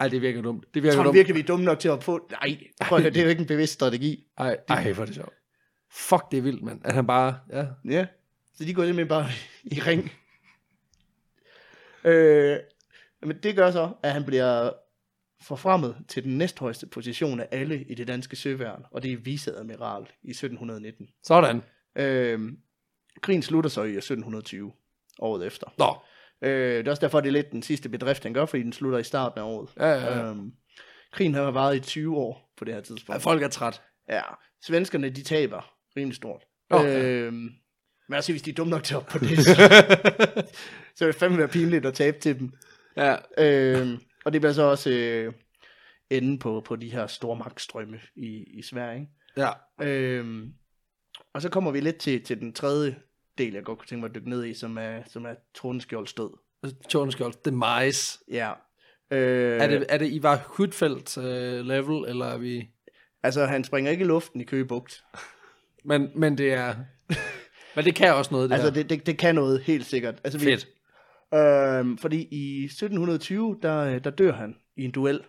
S1: Ej, det virker dumt. Det
S2: jeg
S1: virker
S2: tror du
S1: dumt.
S2: virkelig, vi er dumme nok til at få, nej, prøv at høre, det er jo ikke en bevidst strategi.
S1: Ej, ej, hvor er det sjovt. Fuck, det er vildt, mand. At han bare, ja.
S2: Ja. Så de går simpelthen bare i ring. Øh, men det gør så, at han bliver forfremmet til den næsthøjeste position af alle i det danske søværn, og det er viceadmiral i 1719.
S1: Sådan.
S2: Øh, krigen slutter så i 1720, året efter.
S1: Nå,
S2: Øh, det er også derfor, det er lidt den sidste bedrift, han gør, fordi den slutter i starten af året.
S1: Ja, ja, ja.
S2: Øh, krigen har varet i 20 år på det her
S1: Ej,
S2: tidspunkt.
S1: folk er træt.
S2: Ja, svenskerne de taber rimelig stort.
S1: Nå,
S2: Oh,
S1: ja.
S2: øhm, men altså, hvis de er dumme nok til at op på det, så vil det fandme være pinligt at tabe til dem.
S1: ja,
S2: Øhm, og det bliver så også øh, enden på, på de her stormagtstrømme i, i Sverige.
S1: ja.
S2: Ikke? Øhm, og så kommer vi lidt til, til den tredje del, jeg godt kunne tænke mig at dykke ned i, som er, som er Tordenskjolds død.
S1: Tordenskjold, demise.
S2: Ja. Øh,
S1: Er det, er det Ivar Hudfeldt uh, level, eller er vi...
S2: Altså, han springer ikke i luften i Køge Bugt.
S1: Men, men det er... men det kan også noget, det
S2: Altså,
S1: her.
S2: det, det, det kan noget, helt sikkert. Altså, vi,
S1: Fedt.
S2: Øhm, fordi i 1720, der, øh, der dør han i en duel.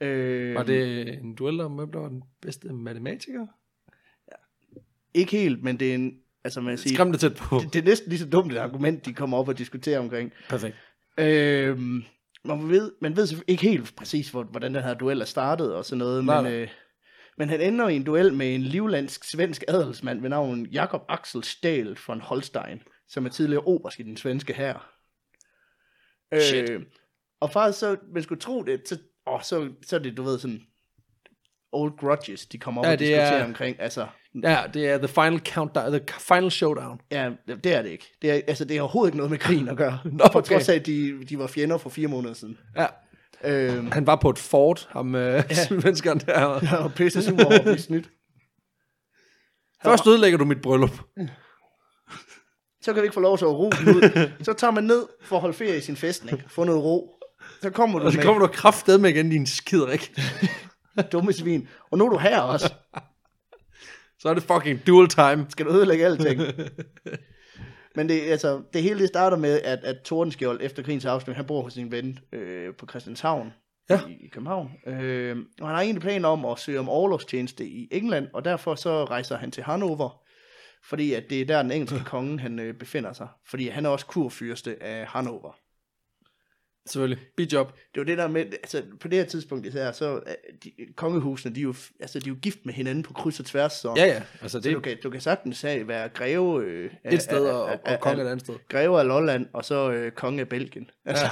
S2: Øhm,
S1: Var det en duel om, hvem der var den bedste matematiker?
S2: Ikke helt, men det er en... Altså, man siger,
S1: Skræmmende tæt på.
S2: det, det er næsten lige så dumt et argument, de kommer op og diskuterer omkring.
S1: Perfekt.
S2: Øhm, man, ved, man ved selvfølgelig ikke helt præcis, hvor, hvordan den her duel er startet og sådan noget,
S1: Nej,
S2: men,
S1: nej.
S2: øh, men han ender i en duel med en livlandsk-svensk adelsmand ved navn Jakob Axel Stahl von Holstein, som er tidligere oberst i den svenske hær. Øh,
S1: Shit.
S2: og faktisk så, man skulle tro det, så, åh, så, så er det, du ved, sådan old grudges, de kommer op
S1: Ja,
S2: ja, og
S1: det
S2: diskuterer
S1: er-
S2: er... omkring. Altså,
S1: Ja, det er The Final Countdown, The Final Showdown.
S2: ja, det er det ikke. Det er, altså, det er overhovedet ikke noget med krigen at gøre. Nå,
S1: okay.
S2: På trods af, at de, de var fjender for fire måneder siden.
S1: Ja,
S2: Øhm,
S1: han var på et fort, ham øh, svenskeren der.
S2: jeg var pisse sur over at blive snydt.
S1: Først ødelægger du mit bryllup.
S2: Så kan vi ikke få lov til at ro den ud. Så tager man ned for at holde ferie i sin festning, få noget ro. Så kommer du
S1: Og så
S2: med
S1: kommer du kraftedeme igen, din skiderik.
S2: dumme svin. Og nu er du her også.
S1: Så er det fucking dual time.
S2: Skal du ødelægge alting? Men det, altså, det hele det starter med, at, at Tordenskjold efter krigens afslutning, han bor hos sin ven øh, på Christianshavn
S1: Ja.
S2: i, i København. Øh, og han har egentlig planer om at søge om overlovstjeneste i England, og derfor så rejser han til Hannover, fordi at det er der den engelske konge han øh, befinder sig. Fordi han er også kurfyrste af Hannover.
S1: Selvfølgelig. Bijob.
S2: Det var det der med, altså på det her tidspunkt især, så øh, de, kongehusene, de er, jo, f- altså, de er jo gift med hinanden på kryds og tværs. Så,
S1: Ja, ja. Altså,
S2: så
S1: det
S2: du,
S1: er
S2: kan, du kan sagtens have, være greve øh, af-
S1: et sted,
S2: af-
S1: og,
S2: af-
S1: og
S2: af-
S1: konge et andet sted.
S2: greve af Lolland, og så øh, konge af Belgien. Altså,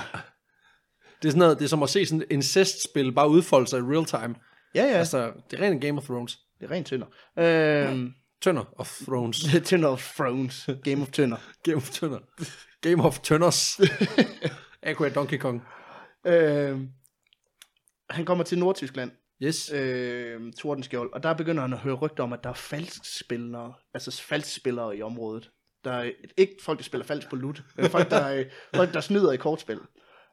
S1: Det er sådan noget, det er som at se sådan et incest-spil bare udfolde sig i real time.
S2: ja, ja, altså,
S1: Altså, det er rent Game of Thrones.
S2: det er rent tønder. Øhm,
S1: Tønder of Thrones.
S2: tønder of Thrones, Game of Tønder.
S1: Game of Tønder. Game of Tønders. Aqua Donkey Kong.
S2: Øhm, han kommer til Nordtyskland,
S1: Yes.
S2: øh, Tordenskjold, og der begynder han at høre rygter om, at der er falskspillere, altså falskspillere i området. Der er ikke folk, der spiller falsk på lut, men folk, der, øh, folk, der snyder i kortspil.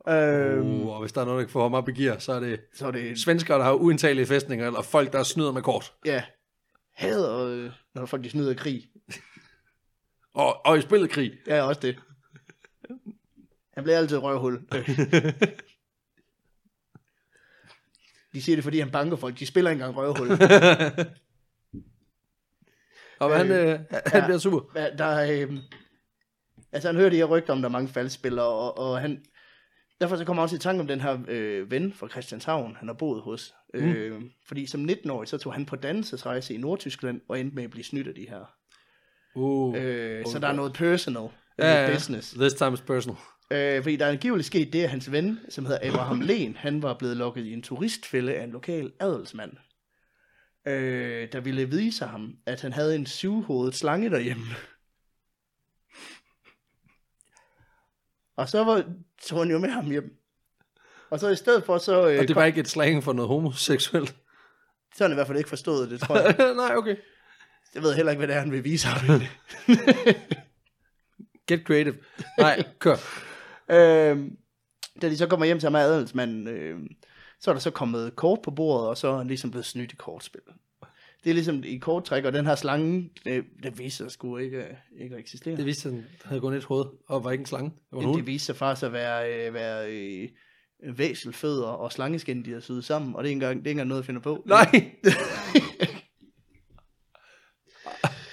S2: Øhm,
S1: Uh, og hvis der er noget, der kan få ham op i gear, så er det
S2: så er det,
S1: svenskere, der har uindtagelige fæstninger, eller folk, der snyder med kort.
S2: ja, hader, øh, når folk de snyder i krig.
S1: Og, og i spillet krig.
S2: Ja, også det. Han bliver altid røvhul. Øh, De siger det, fordi han banker folk. De spiller ikke engang røvhul.
S1: Og han, øh, han
S2: ja.
S1: bliver super.
S2: Hva- Der er, øhm, altså, han hører de her rygter om, der er mange faldspillere, og, og han, derfor så kommer han også i tanke om den her øh, ven fra Christianshavn, han har boet hos.
S1: Mm.
S2: Øh, fordi som 19-årig, så tog han på dannelsesrejse i Nordtyskland, og endte med at blive snydt af de her.
S1: Uh,
S2: Øh, så der er noget personal,
S1: ja,
S2: ja,
S1: ja.
S2: business.
S1: This time is personal.
S2: Øh, fordi der er angiveligt sket det, at hans ven, som hedder Abraham Len, han var blevet lokket i en turistfælde af en lokal adelsmand, øh, der ville vise ham, at han havde en syvhovedet slange derhjemme. Og så var, tog han jo med ham hjem. Og så i stedet for, så, øh,
S1: Og det var ikke et slang for noget homoseksuelt.
S2: så har han i hvert fald ikke forstået det, tror jeg.
S1: Nej, okay.
S2: Jeg ved heller ikke, hvad det er, han vil vise ham.
S1: Get creative. Nej, kør.
S2: Øh, da de så kommer hjem til ham af adelsmanden, øh, så er der så kommet kort på bordet, og så er han ligesom blevet snydt i kortspil. Det er ligesom i korttræk, og den her slange, det, det viser sig sgu ikke, øh, ikke at eksistere.
S1: Det
S2: Det,
S1: viste, at han havde gået et hoved, og var ikke en slange. Det var en
S2: det
S1: hund.
S2: viser sig faktisk at være, øh, være øh, væselfødder og slangeskin, de har syet sammen, og det er ikke engang, det er ikke engang noget, jeg finder på.
S1: Nej!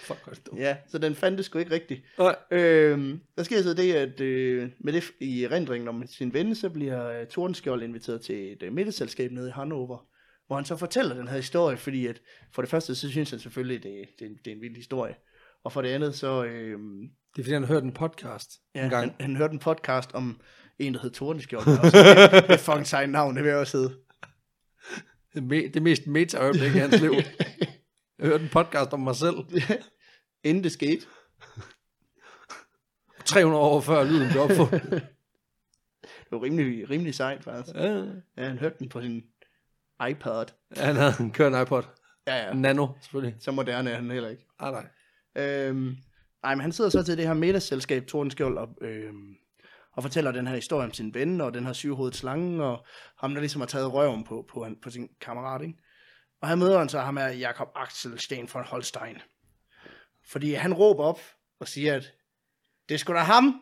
S1: Fuck, hvor er det dumt.
S2: Ja, så den fandt det sgu ikke rigtigt.
S1: Nej.
S2: Øhm, der sker så det, at øh, med det f- i erindringen om sin ven, så bliver øh, Tordenskjold inviteret til et øh, middagsselskab nede i Hannover, hvor han så fortæller den her historie, fordi at for det første, så synes han selvfølgelig, det, det, er en- det er en vild historie. Og for det andet, så øh,
S1: Det er fordi, han hørte en podcast
S2: ja,
S1: en gang.
S2: han, han hørte en podcast om en, der hed Tordenskjold. og så- Det er fucking sejt navn, det vil jeg også hedde.
S1: Det, me- det mest meta-øjeblik i hans liv. Jeg hørte en podcast om mig selv.
S2: Inden det skete.
S1: 300 år før lyden blev opfundet.
S2: Det var rimelig, rimelig sejt, faktisk.
S1: Ja.
S2: Ja, han hørte den på sin iPad.
S1: Han havde en kørende iPod.
S2: Ja, ja.
S1: Nano, selvfølgelig.
S2: Så moderne er han heller ikke.
S1: Ah, nej.
S2: Øhm, nej, men han sidder så til det her middagsselskab, Tordenskjold, og, øhm, og fortæller den her historie om sin ven, og den her syvhovedet slange, og ham, der ligesom har taget røven på, på, han, på sin kammerat, ikke? Og her møder han så ham her, Jakob Axel Sten von Holstein. Fordi han råber op og siger, at det er sgu da ham.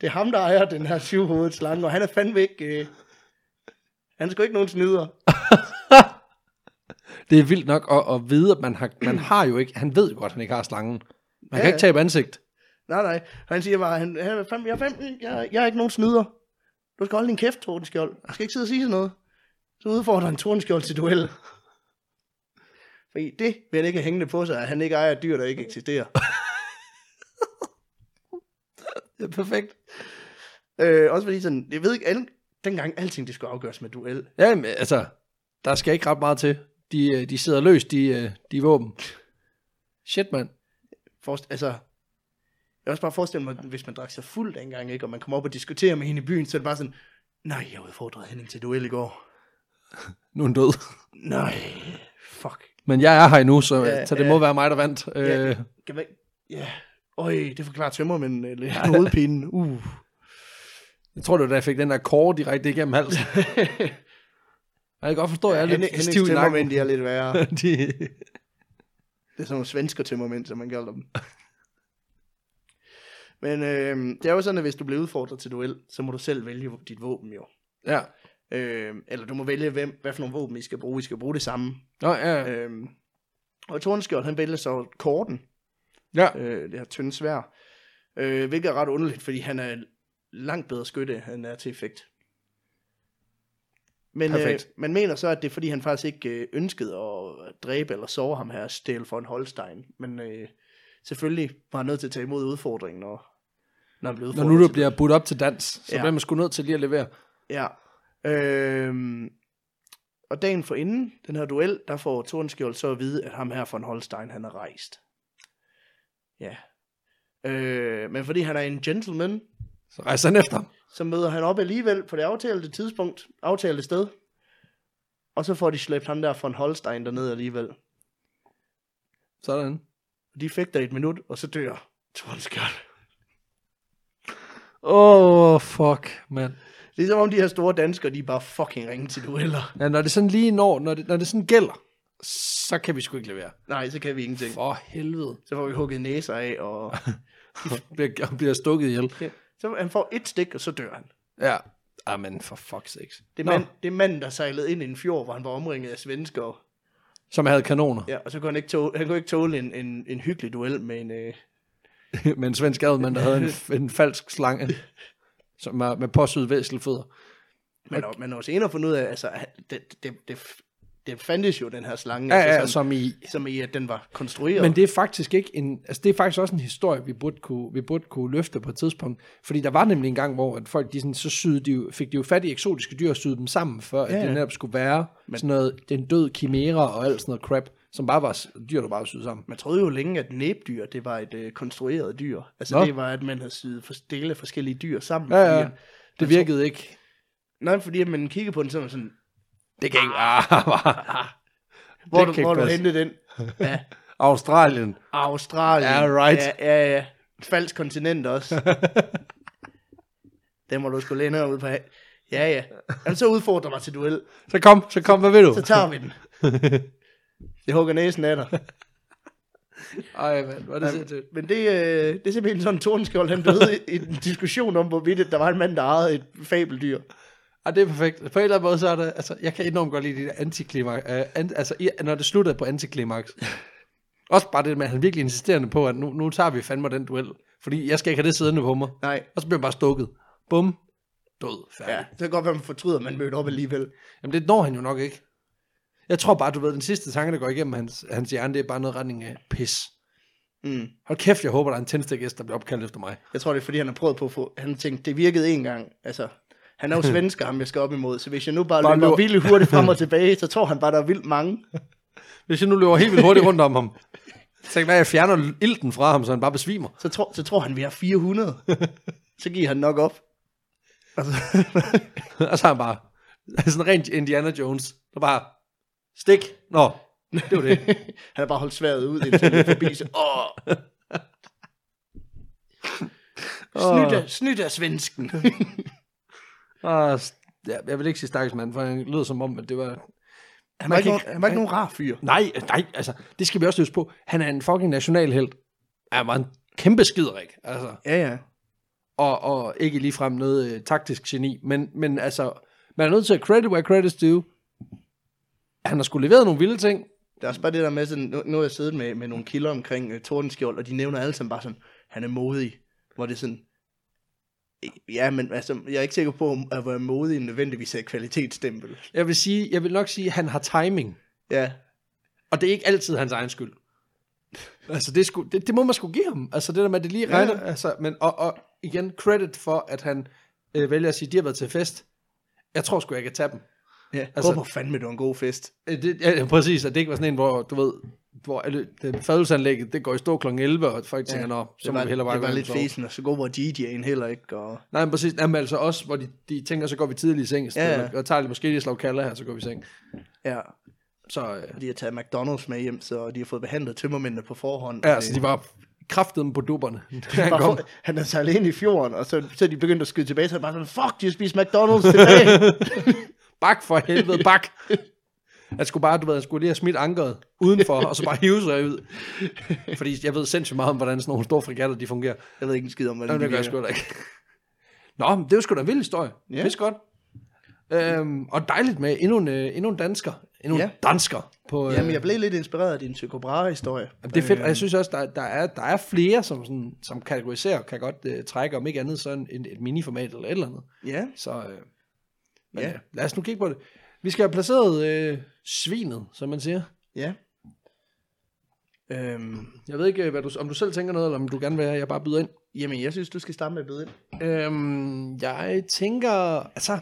S2: Det er ham, der ejer den her syvhovedet slange, og han er fandme ikke... Øh, han er sgu ikke nogen snyder.
S1: Det er vildt nok at, at vide, at man har, man har jo ikke... Han ved jo godt, at han ikke har slangen. Man ja,
S2: Ja,
S1: kan ikke
S2: ja.
S1: tabe ansigt.
S2: Nej, nej. Han siger bare, han, han er fandme, jeg, er fandme, jeg, jeg er ikke nogen snyder. Du skal holde din kæft, Tordenskjold. Du skal ikke sidde og sige sådan noget. Så udfordrer han Tordenskjold til duel. Fordi det vil han ikke have hængende på sig, at han ikke ejer et dyr, der ikke eksisterer.
S1: Det er perfekt.
S2: øh, også fordi sådan, jeg ved ikke, alle, dengang alting det skulle afgøres med duel.
S1: Ja, men, altså... Der skal ikke ret meget til. De, øh, de sidder løst, de, øh, de våben. Shit, mand.
S2: Forst, altså, jeg kan også bare forestille mig, hvis man drak sig fuld dengang, ikke, og man kom op og diskuterer med hende i byen, så er det bare sådan, nej, jeg udfordrede Henning til duel i går.
S1: Nu er han død.
S2: Nej, fuck.
S1: Men jeg er her endnu, så,
S2: Ja,
S1: ja, så det
S2: ja.
S1: må være mig, der vandt.
S2: Ja,
S1: Øh,
S2: Kan man, ja. Øj, det forklarer tømmermænd øh, lidt hovedpinen. Uh.
S1: jeg tror, det var da jeg fik den der kåre direkte igennem halsen. Jeg kan godt forstå, at jeg er lidt
S2: Henning-
S1: stiv i
S2: Hennings tømmermænd,
S1: nakken.
S2: de er lidt værre.
S1: De,
S2: Det er sådan nogle svensker tømmermænd, som man kalder dem. Men øh, det er jo sådan, at hvis du bliver udfordret til duel, så må du selv vælge dit våben jo.
S1: ja.
S2: Øh, eller du må vælge, hvem, hvad for nogle våben I skal bruge. I skal bruge det samme.
S1: Nå, ja.
S2: Øh, og Tordenskjold, han vælger så korten,
S1: ja.
S2: øh, det her tynde svær. Øh, hvilket er ret underligt, fordi han er langt bedre skytte, han er til effekt. Men øh,
S1: Perfekt.
S2: man mener så, at det er fordi, han faktisk ikke øh, ønskede at dræbe eller sove ham her, Stel von Holstein. Men øh, selvfølgelig var han nødt til at tage imod udfordringen, når, når han blev
S1: Når
S2: udfordret.
S1: nu du
S2: til
S1: bliver budt op til dans, så
S2: Ja.
S1: ja. bliver man sgu nødt til lige at levere.
S2: Ja. Øhm, og dagen for inden den her duel, der får Tordenskjold så at vide, at ham her von Holstein, han er rejst. Ja. Øh, men fordi han er en gentleman,
S1: Så rejser han efter ham.
S2: så møder han op alligevel på det aftalte tidspunkt, aftalte sted. Og så får de slæbt ham der von Holstein derned alligevel.
S1: Sådan.
S2: De fægter i et minut, og så dør Tordenskjold.
S1: Åh, oh, fuck, mand.
S2: Ligesom om de her store danskere, de er bare fucking ringe til dueller.
S1: Ja, når det sådan lige når, når det, når det sådan gælder, så kan vi sgu ikke levere.
S2: Nej, så kan vi ingenting.
S1: For helvede.
S2: Så får vi hugget næser af, og
S1: Bliver, bliver stukket ihjel.
S2: Ja. Så han får et stik, og så dør han.
S1: Ja. Amen, for fuck's sakes.
S2: Det
S1: Nå.
S2: er, mand, det er manden, der sejlede ind i en fjord, hvor han var omringet af svenskere.
S1: Som havde kanoner.
S2: Ja, og så kunne han ikke tåle, han kunne ikke tåle en, en, en hyggelig duel med en... Øh,
S1: Ja. med en svensk admand, der havde en, en falsk slange. Som var med påsyet væselfødder.
S2: men, okay. men også senere fundet ud af, altså, han- det, det, det, det fandtes jo, den her slange.
S1: Ja,
S2: altså,
S1: ja, som i...
S2: som i, at den var konstrueret.
S1: Men det er faktisk ikke en, altså det er faktisk også en historie, vi burde kunne, vi burde kunne løfte på et tidspunkt. Fordi der var nemlig en gang, hvor at folk de sådan, så syede de, jo- fik de jo fat i eksotiske dyr og syede dem sammen, for at
S2: Ja,
S1: ja,
S2: ja.
S1: det netop skulle være Men... sådan noget, den død kimæra og alt sådan noget crap, som bare var s- dyr, der bare var syet sammen.
S2: Man troede jo længe, at næbdyr, det var et øh, konstrueret dyr. Altså, Nå.
S1: Nå.
S2: det var, at man havde syet for, dele af forskellige dyr sammen.
S1: Ja, ja.
S2: Fordi,
S1: Det virkede ikke.
S2: nej, fordi at man kiggede på den, så var man sådan,
S1: Det kan ikke. Ah,
S2: hvor,
S1: Det
S2: du,
S1: kan
S2: hvor
S1: ikke
S2: du
S1: passe.
S2: hentede den? Ja,
S1: Australien.
S2: Australien.
S1: Ja, right.
S2: Ja, ja, ja. Falsk kontinent også. Den må du sgu længere ud på. ha- Ja, ja. Jamen, så udfordrer mig til duel.
S1: Så kom, så kom, hvad vil du?
S2: Så tager vi den. Jeg hugger næsen af dig.
S1: Ej, mand, hvor er det sindssygt.
S2: Men det, øh, det er simpelthen sådan, Tordenskjold han døde i, i en diskussion om, hvorvidt at der var en mand, der ejede et fabeldyr.
S1: Ej, det er perfekt. På en eller anden måde, så er det, altså, jeg kan enormt godt lide det der antiklimaks, øh, an, altså, i, når det slutter på antiklimaks. Også bare det med, at han virkelig insisterende på, at nu, nu tager vi fandme den duel, fordi jeg skal ikke have det siddende på mig.
S2: Nej.
S1: Og så bliver han bare stukket. Bum. Død. Færdig.
S2: Ja,
S1: Ja.
S2: så kan det godt være, man fortryder, at man mødte op alligevel.
S1: Jamen, det når han jo nok ikke. Jeg tror bare, du ved, den sidste tanke, der går igennem hans, hans hjerne, det er bare noget i retning af pis.
S2: Mm.
S1: Hold kæft, jeg håber, der er en tændstikgæst, der bliver opkaldt efter mig.
S2: Jeg tror, det er, fordi han har prøvet på at få... Han tænkte, det virkede en gang. Altså, han er jo svensker, ham jeg skal op imod, så hvis jeg nu
S1: Bare
S2: bare, bare løber
S1: løber-
S2: vildt hurtigt frem og tilbage, så tror han bare, der er vildt mange.
S1: Hvis jeg nu løber helt vildt hurtigt rundt om ham, tænk hvad, jeg fjerner ilten fra ham, så han bare besvimer.
S2: Så, tror, så tror han, vi har 400. så giver han nok op. Altså,
S1: Og så er han bare, sådan rent Indiana Jones, der bare, stik, nå, det var det.
S2: han har bare holdt sværet ud, indtil han er forbi. Så, åh, snydt af, snydt af svensken.
S1: Og, ja, jeg vil ikke sige stakkels mand, for han lød som om, at det var...
S2: han, var
S1: Man
S2: ikke,
S1: kan
S2: nogen,
S1: ikke-
S2: han var ikke nogen rar fyr.
S1: Nej, nej, altså, det skal vi også løse på. Han er en fucking nationalhelt. Han var en kæmpe skiderik, altså.
S2: Ja, ja.
S1: Og, og ikke ligefrem noget øh, taktisk geni, men, men altså, man er nødt til at credit where credit's due. Han har skulle leveret nogle vilde ting,
S2: Det er også bare det der med, sådan, nu, nu har jeg siddet med, med nogle kilder omkring uh, Tordenskjold, og de nævner alle sammen bare sådan, han er modig, hvor det er sådan, ja, men altså, jeg er ikke sikker på, om at være modig nødvendigvis er et kvalitetsstempel.
S1: Jeg vil, sige, jeg vil nok sige, at han har timing.
S2: Ja,
S1: Og det er ikke altid hans egen skyld. Altså, det, er sgu, det, det må man sgu give ham. Altså, det der med, at det lige
S2: Ja.
S1: regner. Ja. Altså, men, og, og igen, credit for, at han øh, vælger at sige, de har været til fest. Jeg tror sgu, jeg kan tage dem.
S2: Ja,
S1: Altså-
S2: altså, håber fandme, det var en god fest.
S1: Øh, Det, ja, ja, præcis, at det ikke var sådan en, hvor du ved, hvor alle, det, fadelsanlægget, det går i stå kl. 11, og folk tænker, nå, så
S2: det
S1: må
S2: var,
S1: vi hellere bare
S2: det
S1: gå
S2: var
S1: hjem
S2: lidt
S1: og sove."
S2: fesen, og så god var DJ'en heller ikke. Og...
S1: Nej, men præcis, jamen, altså også, hvor de, de tænker, så går vi tidligt i seng,
S2: Ja,
S1: ja,
S2: ja.
S1: ja. og tager lidt måske lige et slag kalder her, så går vi i seng.
S2: Ja,
S1: Så, øh,
S2: og de har taget McDonald's med hjem, så de har fået behandlet tømmermændene på forhånd.
S1: ja,
S2: og
S1: så
S2: det-
S1: de var kraftedeme på dupperne.
S2: han, var, for- han er sejlet ind i fjorden, og så, så er de begyndt at skyde tilbage, så er han bare sådan, fuck, de har spist McDonald's tilbage.
S1: Bak for helvede, bak! Jeg skulle bare, du ved, jeg skulle lige have smidt ankeret udenfor, og så bare hive sig ud. Fordi jeg ved sindssygt meget om, hvordan sådan nogle store frigatter, de fungerer.
S2: jeg ved ikke en skid om, hvordan
S1: Jamen, det gør jeg
S2: virker.
S1: sgu da ikke. Nå, men det er jo sgu da en vild historie.
S2: Ja.
S1: Yeah. Pisse godt. Øhm, og dejligt med endnu en, øh, endnu en dansker. Endnu en
S2: Ja.
S1: dansker. På, øh,
S2: Jamen, jeg Øh. blev lidt inspireret af din Tycho Brahe-historie.
S1: jamen, det er fedt, og jeg synes også, der, der, er, der er flere, som, sådan, som kategoriserer, kan godt øh, trække, om ikke andet, sådan en, et miniformat eller et eller andet.
S2: Ja,
S1: Så øh, men,
S2: Ja.
S1: øh, lad os nu kigge på det. Vi skal have placeret øh, svinet, som man siger.
S2: ja. Øhm,
S1: Jeg ved ikke, øh, hvad du, om du selv tænker noget, eller om du gerne vil have, at jeg bare byder ind.
S2: jamen, jeg synes, du skal starte med at bide ind.
S1: Øhm, jeg tænker, altså,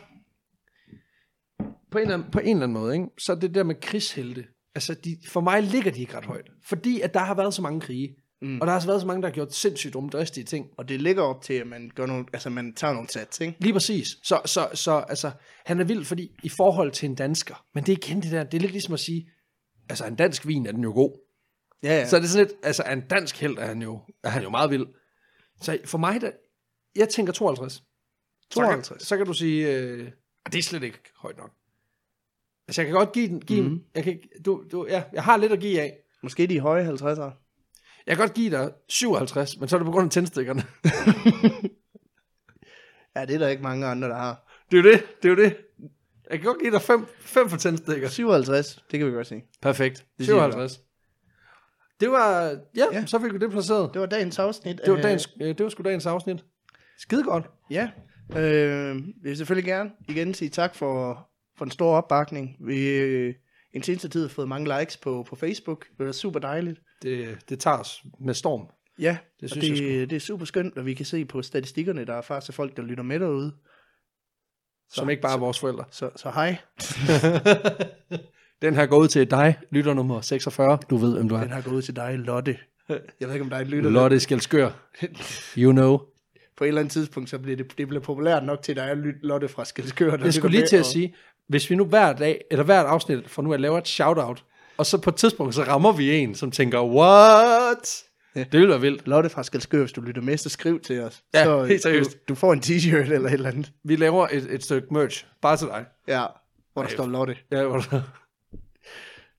S1: på en, eller anden, på en eller anden måde, ikke? så er det der med krigshelte, altså de, for mig ligger de ikke ret højt, fordi at der har været så mange krige, mm. og der har også været så mange, der har gjort sindssygt dumdristige ting.
S2: Og det ligger op til, at man, gør nogle, altså, man tager nogle sats, ikke?
S1: Lige præcis. Så, så, så altså, han er vild fordi, i forhold til en dansker, men det er igen det der, det er lidt ligesom at sige, altså en dansk vin er den jo god,
S2: Ja, ja.
S1: Så er det sådan lidt, altså er en dansk held er han jo, er han jo meget vild. Så for mig, der, jeg tænker 52.
S2: 52.
S1: Så kan, så kan du sige, øh, "Ah, det er slet ikke højt nok. Altså jeg kan godt give den, give mm-hmm. den. Jeg, kan, ikke- du, du, ja, jeg har lidt at give af.
S2: Måske de høje 50'ere.
S1: Jeg kan godt give dig 57, men så er det på grund af tændstikkerne.
S2: Ja, det er der ikke mange andre, der har.
S1: Det er jo det, det er jo det. Jeg kan godt give dig 5, 5 for tændstikker.
S2: 57, det kan vi godt se.
S1: Perfekt.
S2: Det siger
S1: 57. Det var, ja,
S2: Ja.
S1: ja, så fik vi det placeret.
S2: Det var dagens afsnit.
S1: Det var,
S2: af-
S1: dagens, øh, det var sgu dagens afsnit. Skide godt.
S2: Ja, øh, vi vil selvfølgelig gerne igen sige tak for, for en stor opbakning. Vi øh, i den seneste tid har fået mange likes på, på Facebook. Det var super dejligt.
S1: Det, det tager os med storm.
S2: Ja,
S1: Det
S2: det,
S1: synes
S2: synes det, jeg det er super skønt, og vi kan se på statistikkerne, der er faktisk folk, der lytter med derude.
S1: Som ikke bare er vores forældre.
S2: Så, så hej,
S1: Den her går ud til dig, lytter nummer 46. Du ved, hvem du
S2: den
S1: er.
S2: har gået ud til dig, Lotte. Jeg ved ikke, om dig lytter.
S1: Lotte Skelskør. You know.
S2: På et eller andet tidspunkt, så bliver det, det bliver populært nok til dig at lytte Lotte fra Skelskør. der
S1: Jeg
S2: lytter
S1: skulle lige
S2: med,
S1: til at
S2: og-
S1: sige, hvis vi nu hver dag, eller hvert afsnit fra nu af laver et shout-out, og så på et tidspunkt, så rammer vi en, som tænker, what? Det ville være vildt.
S2: Lotte fra Skelskør, hvis du lytter med, så skriv til os.
S1: Ja,
S2: så, øh,
S1: helt seriøst.
S2: Du, du får en t-shirt eller et eller andet.
S1: Vi laver et, et stykke merch, bare til dig.
S2: Ja, hvor der står Lotte.
S1: Ja, hvor der-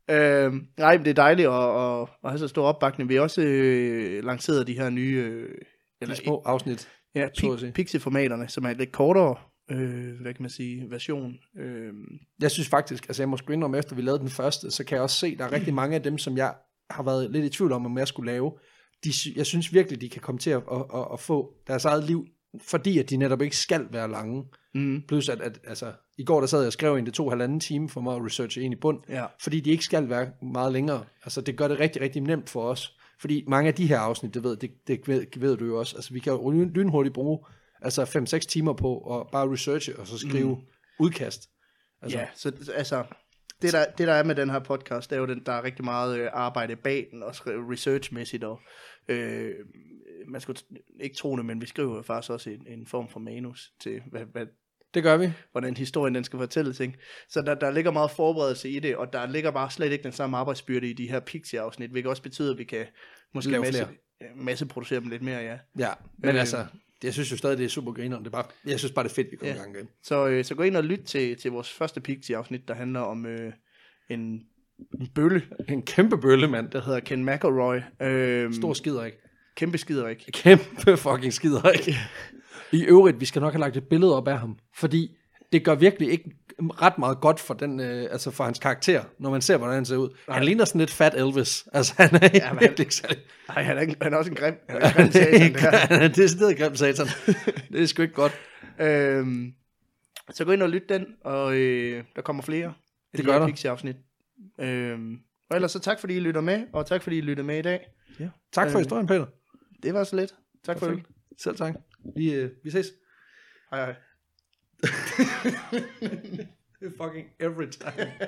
S2: Øh, nej, men det er dejligt at, at, at have så stor opbakning. Vi har også øh, lanceret de her nye øh,
S1: de små afsnit.
S2: ja,
S1: så at sige.
S2: pi- pixelformaterne, som er en lidt kortere øh, hvad kan man sige, version. Øh,
S1: Jeg synes faktisk, altså jeg må sgu indrømme, efter vi lavede den første, så kan jeg også se, at der er rigtig mange af dem, som jeg har været lidt i tvivl om, om jeg skulle lave. De, sy- jeg synes virkelig, de kan komme til at, at, at, at få deres eget liv, fordi at de netop ikke skal være lange.
S2: mm,
S1: Plus at, at altså, i går der sad jeg og skrev en, det tog halvanden time for mig at researche en i bund,
S2: ja.
S1: fordi de ikke skal være meget længere. Altså det gør det rigtig, rigtig nemt for os. Fordi mange af de her afsnit, det ved, det, det ved, ved du jo også, altså vi kan jo lyn- lynhurtigt bruge altså 5-6 timer på at bare researche og så skrive mm. udkast.
S2: Altså. ja, så så- altså... Det der, det der er med den her podcast, det er jo, den, der er rigtig meget øh, arbejde bag den, også re- researchmæssigt, og øh, man skulle t- ikke tro det, men vi skriver jo faktisk også en, en form for manus til, hvad, hvad,
S1: Det gør vi.
S2: hvordan historien den skal fortælles. Ikke? Så der, der ligger meget forberedelse i det, og der ligger bare slet ikke den samme arbejdsbyrde i de her Pixie-afsnit, hvilket også betyder, at vi kan måske
S1: Lave
S2: masse,
S1: flere.
S2: masseproducere dem lidt mere, ja.
S1: Ja, men
S2: Øh.
S1: øh, altså, jeg synes jo stadig, det er super griner. Det er bare, jeg synes bare, det er fedt, vi kommer
S2: Ja.
S1: i gang igen.
S2: Så, øh, så gå ind og lyt til, til vores første Pixie-afsnit, der handler om øh, en, en bølle,
S1: En kæmpe bølle, mand. Det
S2: der hedder Ken McElroy. Øh,
S1: stor skider, ikke?
S2: Kæmpe skider, ikke?
S1: Kæmpe fucking skider, ikke? I øvrigt, vi skal nok have lagt et billede op af ham, fordi det gør virkelig ikke ret meget godt for, den, øh, altså for hans karakter, når man ser, hvordan han ser ud. Han ligner sådan lidt fat Elvis. Altså, han er ja,
S2: men han-
S1: virkelig ikke særlig...
S2: Ej, han er, ikke- han er også en grim, han er en grim satan, det her.
S1: han er decideret grim satan. det er sgu ikke godt.
S2: Øhm, så gå ind og lyt den, og øh, der kommer flere. af
S1: Det
S2: de
S1: gør
S2: her
S1: der.
S2: Pixie-afsnit. Øhm, og ellers så tak, fordi I lytter med, og tak, fordi I lytter med i dag.
S1: Tak for
S2: Øh,
S1: historien, Peter.
S2: Det var så lidt. Tak for det.
S1: Selv tak. Vi, øh, vi ses.
S2: Hej hej.
S1: Fucking every time.